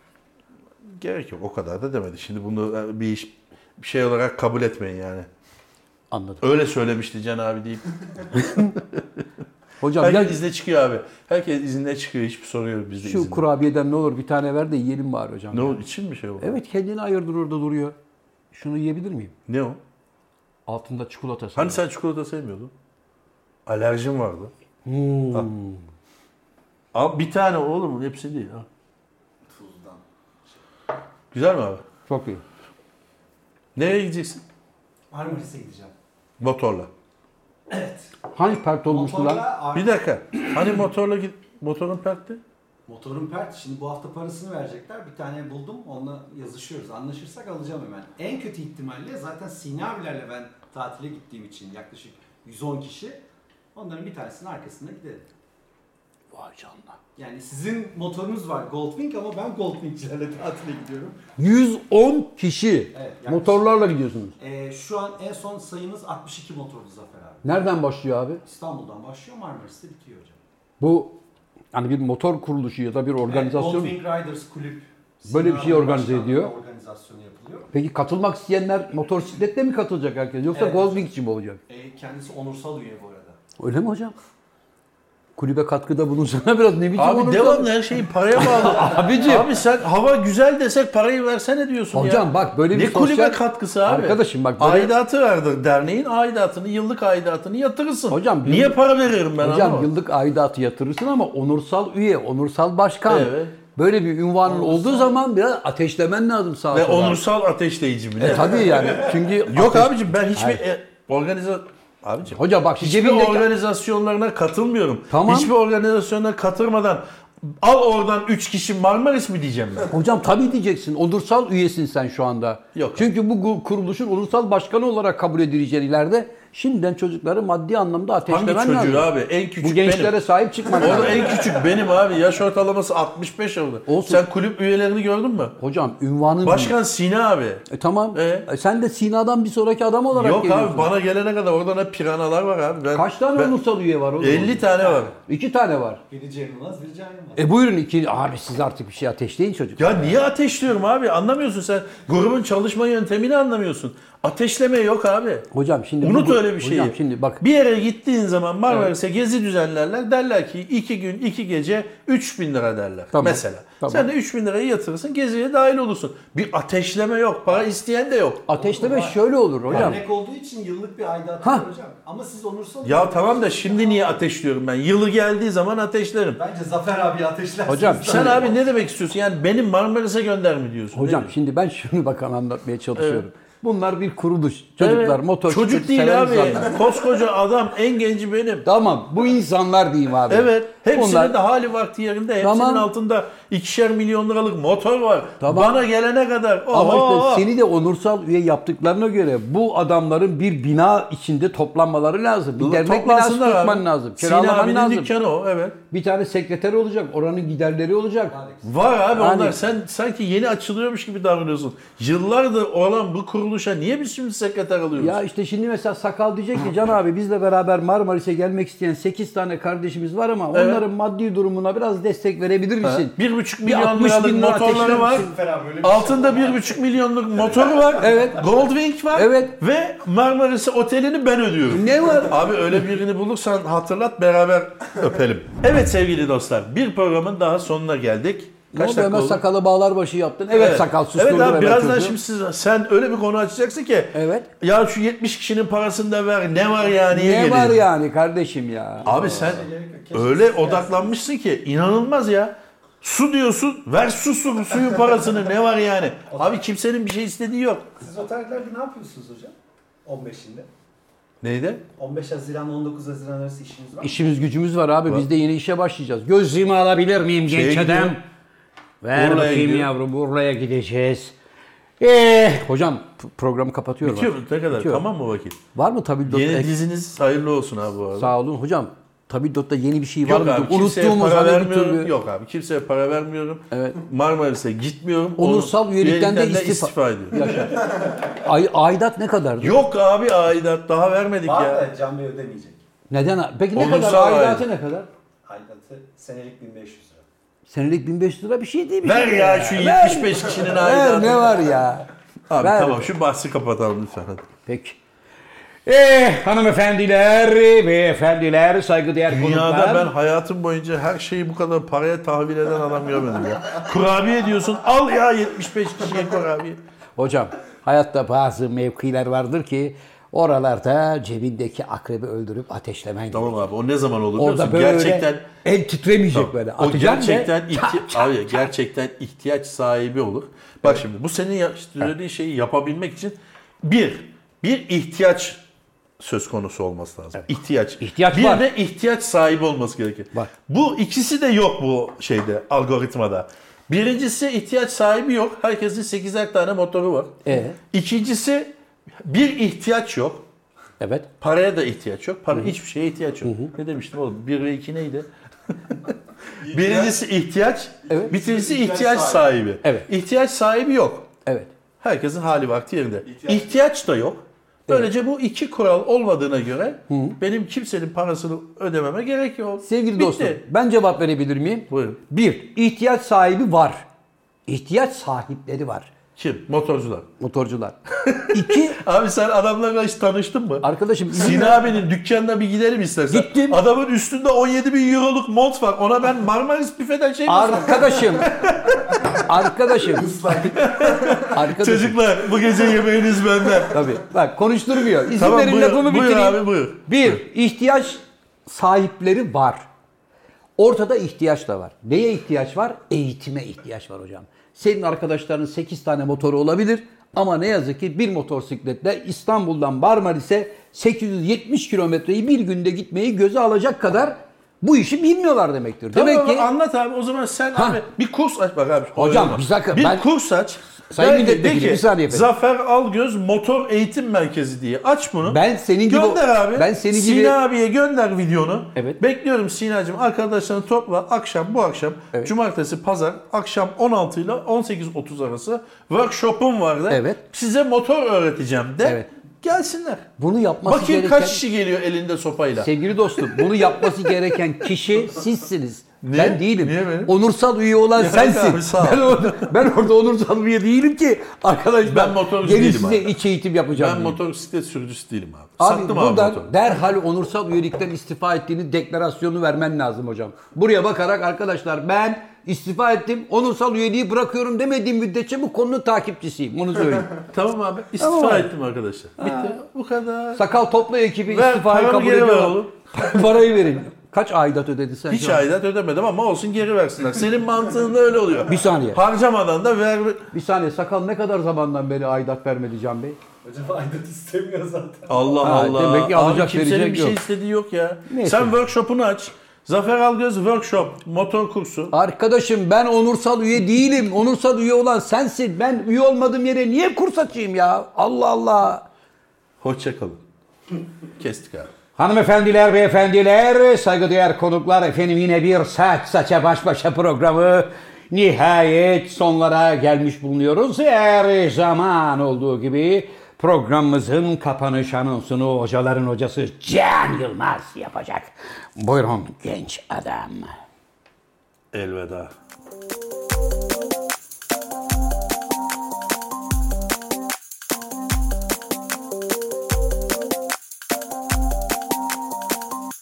Speaker 2: Gerek yok. O kadar da demedi. Şimdi bunu e, bir, iş- bir şey olarak kabul etmeyin yani.
Speaker 1: Anladım.
Speaker 2: Öyle söylemişti Can abi deyip.
Speaker 1: Hocam ya
Speaker 2: Herkes izne çıkıyor abi. Herkes izinde çıkıyor. Hiçbir sorun yok bizde
Speaker 1: şu
Speaker 2: izinde.
Speaker 1: kurabiyeden ne olur bir tane ver de yiyelim bari hocam.
Speaker 2: Ne o? için mi şey oldu?
Speaker 1: Evet kendini ayırdır orada duruyor. Şunu yiyebilir miyim?
Speaker 2: Ne o?
Speaker 1: Altında çikolata.
Speaker 2: Hani sen çikolata sevmiyordun? Alerjin vardı.
Speaker 1: Hmm.
Speaker 2: Ha. Abi bir tane oğlum hepsi değil. Ha.
Speaker 3: Tuzdan.
Speaker 2: Güzel mi abi?
Speaker 1: Çok iyi.
Speaker 2: Nereye gideceksin?
Speaker 3: Marmaris'e gideceğim.
Speaker 2: Motorla.
Speaker 3: Evet.
Speaker 1: Hangi pert olmuştu lan?
Speaker 3: Motorla
Speaker 2: Bir dakika. Hani motorla git motorun perkti.
Speaker 3: Motorun pert. Şimdi bu hafta parasını verecekler. Bir tane buldum. Onunla yazışıyoruz. Anlaşırsak alacağım hemen. En kötü ihtimalle zaten Sina abilerle ben tatile gittiğim için yaklaşık 110 kişi. Onların bir tanesinin arkasında gidelim.
Speaker 1: Vay canına.
Speaker 3: Yani sizin motorunuz var Goldwing ama ben Goldwing'cilerle tatile gidiyorum.
Speaker 1: 110 kişi.
Speaker 3: Evet, yaklaşık.
Speaker 1: Motorlarla gidiyorsunuz.
Speaker 3: Ee, şu an en son sayımız 62 motorlu Zafer abi.
Speaker 1: Nereden başlıyor abi?
Speaker 3: İstanbul'dan başlıyor Marmaris'te bitiyor hocam.
Speaker 1: Bu hani bir motor kuruluşu ya da bir E, organizasyon.
Speaker 3: Goldwing Riders Kulüp.
Speaker 1: Böyle bir
Speaker 3: Sinan
Speaker 1: şey organize
Speaker 3: Başkanlığı
Speaker 1: ediyor.
Speaker 3: Organizasyonu yapılıyor.
Speaker 1: Peki katılmak isteyenler motosikletle mi katılacak herkes yoksa
Speaker 3: Evet.
Speaker 1: Goldwing'ci mi olacak?
Speaker 3: Ee, kendisi onursal üye bu arada.
Speaker 1: Öyle mi hocam? Kulübe katkıda bulunsana biraz ne biçim
Speaker 2: Abi
Speaker 1: olursa-
Speaker 2: devamlı her şeyi paraya bağlı.
Speaker 1: Abicim.
Speaker 2: Abi sen hava güzel desek parayı versene diyorsun ya.
Speaker 1: Hocam bak böyle bir
Speaker 2: Ne
Speaker 1: sosyal...
Speaker 2: kulübe katkısı abi?
Speaker 1: Arkadaşım bak böyle-
Speaker 2: Aidatı verdi. Derneğin aidatını, yıllık aidatını yatırırsın.
Speaker 1: Hocam,
Speaker 2: Niye
Speaker 1: yıllık-
Speaker 2: para veririm ben
Speaker 1: Hocam
Speaker 2: anlamam.
Speaker 1: yıllık aidatı yatırırsın ama onursal üye, onursal başkan.
Speaker 2: Evet.
Speaker 1: Böyle bir ünvanın olduğu zaman biraz ateşlemen lazım sağa
Speaker 2: Ve
Speaker 1: sola.
Speaker 2: onursal ateşleyici mi? ne?
Speaker 1: E, tabii yani. Çünkü
Speaker 2: Yok
Speaker 1: ateş-
Speaker 2: abicim ben hiçbir
Speaker 1: Hayır.
Speaker 2: e, organiza... Abicim
Speaker 1: Hocam bak
Speaker 2: hiçbir
Speaker 1: cebindeki-
Speaker 2: organizasyonlarına katılmıyorum.
Speaker 1: Tamam.
Speaker 2: Hiçbir organizasyonuna katılmadan al oradan 3 kişi Marmaris mi diyeceğim ben?
Speaker 1: Hocam tabii diyeceksin. Onursal üyesin sen şu anda.
Speaker 2: Yok.
Speaker 1: Çünkü bu gu- kuruluşun onursal başkanı olarak kabul edileceğin ileride şimdiden çocukları maddi anlamda ateşlemen
Speaker 2: Hangi çocuğu
Speaker 1: lazım.
Speaker 2: abi? En küçük
Speaker 1: Bu gençlere
Speaker 2: benim. e-
Speaker 1: sahip çıkman lazım.
Speaker 2: Orada en küçük benim abi. Yaş ortalaması 65 oldu.
Speaker 1: Olsun.
Speaker 2: Sen kulüp üyelerini gördün mü?
Speaker 1: Hocam ünvanın...
Speaker 2: Başkan Sina abi.
Speaker 1: E tamam.
Speaker 2: E?
Speaker 1: E, sen de Sina'dan bir sonraki adam olarak
Speaker 2: Yok
Speaker 1: geliyorsun.
Speaker 2: abi bana gelene kadar oradan hep piranalar var abi. Ben,
Speaker 1: Kaç tane
Speaker 2: ben-
Speaker 1: onursal üye var oğlum?
Speaker 2: 50 tane var.
Speaker 1: İki tane var.
Speaker 3: Biri Cem Yılmaz, biri Can Yılmaz.
Speaker 1: E buyurun iki... Abi siz artık bir şey ateşleyin çocuk.
Speaker 2: Ya niye ateşliyorum abi? Anlamıyorsun sen. Grubun çalışma yöntemini anlamıyorsun. Ateşleme yok abi.
Speaker 1: Hocam şimdi... bu-
Speaker 2: Unut öyle bir şeyi.
Speaker 1: Hocam şimdi bak...
Speaker 2: Bir yere gittiğin zaman Marmaris'e gezi düzenlerler. Derler ki 2 gün 2 gece 3000 lira derler.
Speaker 1: Tamam.
Speaker 2: Mesela.
Speaker 1: Tamam.
Speaker 2: Sen de 3000 lirayı yatırırsın. Geziye dahil olursun. Bir ateşleme yok. Para isteyen de yok.
Speaker 1: Ateşleme şöyle olur hocam.
Speaker 3: Örnek olduğu için yıllık bir aidatı
Speaker 1: Ha.
Speaker 3: var hocam. Ama siz onursal
Speaker 2: Ya
Speaker 3: üye
Speaker 2: tamam da
Speaker 3: olursunuz.
Speaker 2: şimdi niye ateşliyorum ben? Yılı geldiği zaman ateşlerim.
Speaker 3: Bence Zafer abi ateşlersiniz.
Speaker 1: Hocam,
Speaker 2: Sen abi ne demek istiyorsun? Yani benim Marmaris'e gönder mi diyorsun?
Speaker 1: Hocam
Speaker 2: Ne diyorsun?
Speaker 1: şimdi ben şunu bakan anlatmaya çalışıyorum. Bunlar bir kuruluş. Çocuklar
Speaker 2: Evet.
Speaker 1: motor
Speaker 2: Çocuk
Speaker 1: bisikleti
Speaker 2: değil
Speaker 1: seven
Speaker 2: abi.
Speaker 1: insanlar.
Speaker 2: Koskoca adam en genci benim.
Speaker 1: Tamam bu insanlar diyeyim abi.
Speaker 2: Evet. Hepsinin
Speaker 1: Bunlar-
Speaker 2: de hali vakti yerinde. Hepsinin
Speaker 1: Tamam.
Speaker 2: altında ikişer milyon liralık motor var.
Speaker 1: Tamam.
Speaker 2: Bana gelene kadar.
Speaker 1: Ama
Speaker 2: oho!
Speaker 1: işte seni de onursal üye yaptıklarına göre bu adamların bir bina içinde toplanmaları lazım. Bir dernek binası
Speaker 2: Toplansınlar abi.
Speaker 1: tutman lazım.
Speaker 2: Sina
Speaker 1: Kiralaman
Speaker 2: abinin
Speaker 1: lazım.
Speaker 2: dükkanı o. Evet.
Speaker 1: Bir tane sekreter olacak. Oranın giderleri olacak.
Speaker 2: Var abi
Speaker 1: Yani-
Speaker 2: onlar sen sanki yeni açılıyormuş gibi davranıyorsun. Yıllardır olan bu kuruluşa niye biz şimdi sekreter alıyoruz?
Speaker 1: Ya işte şimdi mesela Sakal diyecek ki Can abi bizle beraber Marmaris'e gelmek isteyen 8 tane kardeşimiz var ama onların maddi durumuna biraz destek verebilir misin?
Speaker 2: Bir buçuk
Speaker 1: Bir
Speaker 2: milyon
Speaker 1: 60
Speaker 2: liralık
Speaker 1: bin lira
Speaker 2: motorları var.
Speaker 1: ateşlemişsin
Speaker 3: Zafer abi öyle bir şey
Speaker 2: Altında bir buçuk milyonluk motoru var.
Speaker 1: Evet.
Speaker 2: Goldwing var.
Speaker 1: Evet.
Speaker 2: Ve Marmaris'i otelini ben ödüyorum.
Speaker 1: Ne var?
Speaker 2: Abi öyle birini bulursan hatırlat beraber öpelim. Evet sevgili dostlar bir programın daha sonuna geldik.
Speaker 1: Ne
Speaker 2: Kaç
Speaker 1: oldu
Speaker 2: dakika
Speaker 1: hemen
Speaker 2: oldu?
Speaker 1: sakalı bağlar başı yaptın. Evet, sakal susturdu.
Speaker 2: Evet abi
Speaker 1: hemen
Speaker 2: birazdan
Speaker 1: çocuğu.
Speaker 2: şimdi siz, sen öyle bir konu açacaksın ki.
Speaker 1: Evet.
Speaker 2: Ya şu 70 kişinin parasını da ver ne var yani.
Speaker 1: Ne var yani kardeşim ya?
Speaker 2: Abi sen
Speaker 3: gerek yok. Keşke
Speaker 2: öyle
Speaker 3: siz
Speaker 2: odaklanmışsın ki inanılmaz ya. Su diyorsun, ver su, su suyun parasını ne var yani? Abi kimsenin bir şey istediği yok.
Speaker 3: Siz o tarihlerde ne yapıyorsunuz hocam? 15'inde.
Speaker 2: Neydi?
Speaker 3: 15 Haziran 19 Haziran arası işiniz var mı?
Speaker 1: İşimiz gücümüz var abi. Biz de yeni işe başlayacağız. Gözlüğümü alabilir miyim
Speaker 2: Şeye
Speaker 1: genç
Speaker 2: gidiyor.
Speaker 1: adam? Ver
Speaker 2: Urla'ya
Speaker 1: bakayım
Speaker 2: gidiyor. Eh.
Speaker 1: yavrum. Buraya gideceğiz. Ee, hocam p- programı kapatıyorum.
Speaker 2: Bitiyor mu?
Speaker 1: artık.
Speaker 2: Ne kadar?
Speaker 1: Bitiyor.
Speaker 2: Tamam mı vakit?
Speaker 1: Var mı tabildot?
Speaker 2: Yeni
Speaker 1: ek-
Speaker 2: diziniz hayırlı olsun abi bu arada.
Speaker 1: Sağ olun hocam. Tabildot'ta yeni bir şey var
Speaker 2: Yok
Speaker 1: mı?
Speaker 2: abi kimseye
Speaker 1: Unuttuğumuz
Speaker 2: para
Speaker 1: hani bir
Speaker 2: vermiyorum.
Speaker 1: türlü.
Speaker 2: Yok abi kimseye para vermiyorum.
Speaker 1: Evet.
Speaker 2: Marmaris'e gitmiyorum.
Speaker 1: Onursal
Speaker 2: Onun-
Speaker 1: üyelikten de istifa-
Speaker 2: ediyorum.
Speaker 1: Yaşa. Ay, aidat ne kadardı?
Speaker 2: Yok abi aidat daha vermedik
Speaker 3: Var
Speaker 2: ya.
Speaker 3: da Can Bey ödemeyecek.
Speaker 1: Neden? Peki ne
Speaker 2: Onursal
Speaker 1: kadar? Aidatı
Speaker 2: aidat.
Speaker 1: ne kadar?
Speaker 3: Aidatı senelik 1500 lira.
Speaker 1: Senelik 1500 lira bir şey değil mi?
Speaker 2: Ver ya şu 75 kişinin aidatını.
Speaker 1: Ver ne var ya?
Speaker 2: Abi
Speaker 1: Ver.
Speaker 2: tamam şu bahsi kapatalım lütfen hadi.
Speaker 1: Peki. Eh hanımefendiler, beyefendiler, saygıdeğer
Speaker 2: Dünyada
Speaker 1: konuklar.
Speaker 2: ben hayatım boyunca her şeyi bu kadar paraya tahvil eden adam görmedim ya. Kurabiye diyorsun al ya 75 kişiye kurabiye.
Speaker 1: Hocam hayatta bazı mevkiler vardır ki oralarda cebindeki akrebi öldürüp ateşlemen
Speaker 2: Tamam abi o ne zaman olur biliyor
Speaker 1: Orada
Speaker 2: musun?
Speaker 1: böyle
Speaker 2: Gerçekten
Speaker 1: el titremeyecek
Speaker 2: Tamam.
Speaker 1: böyle.
Speaker 2: O
Speaker 1: Atacaksın
Speaker 2: gerçekten
Speaker 1: ve-
Speaker 2: ihti- abi gerçekten ihtiyaç sahibi olur. Bak şimdi bu senin ya- söylediğin şeyi yapabilmek için bir bir ihtiyaç söz konusu olması lazım. İhtiyaç.
Speaker 1: İhtiyaç
Speaker 2: bir
Speaker 1: var.
Speaker 2: de ihtiyaç sahibi olması gerekir.
Speaker 1: Var.
Speaker 2: Bu ikisi de yok bu şeyde algoritmada. Birincisi ihtiyaç sahibi yok. Herkesin 8'er tane motoru var.
Speaker 1: E?
Speaker 2: İkincisi bir ihtiyaç yok.
Speaker 1: Evet.
Speaker 2: Paraya da ihtiyaç yok. Para hiçbir şeye ihtiyaç yok. Ne demiştim oğlum? 1 ve 2 neydi? Birincisi ihtiyaç,
Speaker 1: Evet.
Speaker 2: birincisi ihtiyaç,
Speaker 3: İhtiyaç
Speaker 2: sahibi.
Speaker 3: sahibi.
Speaker 1: Evet.
Speaker 2: İhtiyaç sahibi yok.
Speaker 1: Evet.
Speaker 2: Herkesin hali vakti yerinde. İhtiyaç,
Speaker 3: İhtiyaç-
Speaker 2: da yok. Böylece bu iki kural olmadığına göre benim kimsenin parasını ödememe gerek yok.
Speaker 1: Sevgili
Speaker 2: Bitti.
Speaker 1: dostum ben cevap verebilir miyim?
Speaker 2: Buyurun.
Speaker 1: Bir, ihtiyaç sahibi var. İhtiyaç sahipleri var.
Speaker 2: Kim? Motorcular.
Speaker 1: Motorcular. İki,
Speaker 2: Abi sen adamlarla hiç tanıştın mı?
Speaker 1: arkadaşım
Speaker 2: Sinan abinin dükkanına bir gidelim istersen.
Speaker 1: Gittim.
Speaker 2: Adamın üstünde 17 bin euroluk mont var. Ona ben Marmaris büfeden şey mi
Speaker 1: arkadaşım arkadaşım arkadaşım
Speaker 2: Çocuklar bu gece yemeğiniz benden.
Speaker 1: Tabii. Bak konuşturmuyor. İzin
Speaker 2: Tamam,
Speaker 1: verin
Speaker 2: buyur,
Speaker 1: lafımı
Speaker 2: buyur
Speaker 1: bitireyim.
Speaker 2: abi, buyur.
Speaker 1: Bir, ihtiyaç sahipleri var. Ortada ihtiyaç da var. Neye ihtiyaç var? Eğitime ihtiyaç var hocam. Senin arkadaşlarının 8 tane motoru olabilir ama ne yazık ki bir motosikletle İstanbul'dan Marmaris'e 870 kilometreyi bir günde gitmeyi göze alacak kadar bu işi bilmiyorlar demektir.
Speaker 2: Tamam
Speaker 1: Demek
Speaker 2: ama
Speaker 1: ki
Speaker 2: anlat abi o zaman sen
Speaker 1: Ha.
Speaker 2: abi bir kurs aç bak abi.
Speaker 1: Hocam,
Speaker 2: Oynama.
Speaker 1: bir dakika,
Speaker 2: Bir
Speaker 1: ben-
Speaker 2: kurs aç.
Speaker 1: Sayın
Speaker 2: Belki de
Speaker 1: milletvekili,
Speaker 2: ki,
Speaker 1: bir saniye efendim.
Speaker 2: Zafer Algöz Motor Eğitim Merkezi diye aç bunu.
Speaker 1: Ben senin gibi-
Speaker 2: Gönder abi.
Speaker 1: ben senin gibi-
Speaker 2: Sina abiye gönder videonu.
Speaker 1: Evet.
Speaker 2: Bekliyorum Sinacığım arkadaşlarını topla akşam bu akşam
Speaker 1: Evet.
Speaker 2: cumartesi pazar akşam 16 ile 18.30 arası workshop'um var da
Speaker 1: Evet.
Speaker 2: size motor öğreteceğim de
Speaker 1: Evet.
Speaker 2: gelsinler.
Speaker 1: bunu yapması
Speaker 2: Bakayım
Speaker 1: gereken...
Speaker 2: kaç kişi geliyor elinde sopayla.
Speaker 1: Sevgili dostum bunu yapması gereken kişi sizsiniz.
Speaker 2: Niye?
Speaker 1: Ben değilim.
Speaker 2: Niye benim?
Speaker 1: Onursal üye olan
Speaker 2: Ya
Speaker 1: sensin.
Speaker 2: abi, sağ ol.
Speaker 1: ben, orada, ben orada onursal üye değilim ki. Arkadaşlar
Speaker 2: Ben motorcu
Speaker 1: gelin
Speaker 2: değilim
Speaker 1: size
Speaker 2: abi.
Speaker 1: iç eğitim yapacağım.
Speaker 2: Ben
Speaker 1: diye.
Speaker 2: motosiklet sürücüsü değilim abi.
Speaker 1: Abi
Speaker 2: Sattım abi
Speaker 1: buradan
Speaker 2: motoru.
Speaker 1: derhal onursal üyelikten istifa ettiğini deklarasyonu vermen lazım hocam. Buraya bakarak arkadaşlar ben istifa ettim, onursal üyeliği bırakıyorum demediğim müddetçe bu konunun takipçisiyim. Onu söyleyeyim.
Speaker 2: Tamam abi istifa
Speaker 1: Tamam abi.
Speaker 2: ettim arkadaşlar. Bitti bu kadar.
Speaker 1: Sakal topla ekibi
Speaker 2: Ver,
Speaker 1: istifayı
Speaker 2: paramı
Speaker 1: kabul
Speaker 2: geri ver
Speaker 1: ediyor.
Speaker 2: oğlum.
Speaker 1: Parayı verin. Kaç aidat ödedin sen?
Speaker 2: Hiç
Speaker 1: şu an?
Speaker 2: aidat ödemedim ama olsun geri versinler. Senin mantığında öyle oluyor.
Speaker 1: Bir saniye.
Speaker 2: Harcamadan da ver.
Speaker 1: Bir saniye sakal ne kadar zamandan beri aidat vermedi Can Bey?
Speaker 3: Acaba aidat istemiyor zaten.
Speaker 2: Allah
Speaker 1: Ha,
Speaker 2: Allah.
Speaker 1: demek ki
Speaker 2: abi
Speaker 1: alacak,
Speaker 2: kimsenin
Speaker 1: verecek
Speaker 2: bir şey
Speaker 1: yok.
Speaker 2: istediği yok ya.
Speaker 1: Neyse.
Speaker 2: Sen workshop'unu aç. Zafer Algöz workshop motor kursu.
Speaker 1: Arkadaşım ben onursal üye değilim. Onursal üye olan sensin. Ben üye olmadığım yere niye kurs açayım ya? Allah Allah.
Speaker 2: Hoşçakalın. Kestik abi.
Speaker 1: Hanımefendiler, beyefendiler, saygıdeğer konuklar efendim yine bir saç saça baş başa programı nihayet sonlara gelmiş bulunuyoruz. Her zaman olduğu gibi programımızın kapanış anonsunu hocaların hocası Can Yılmaz yapacak. Buyurun genç adam.
Speaker 2: Elveda.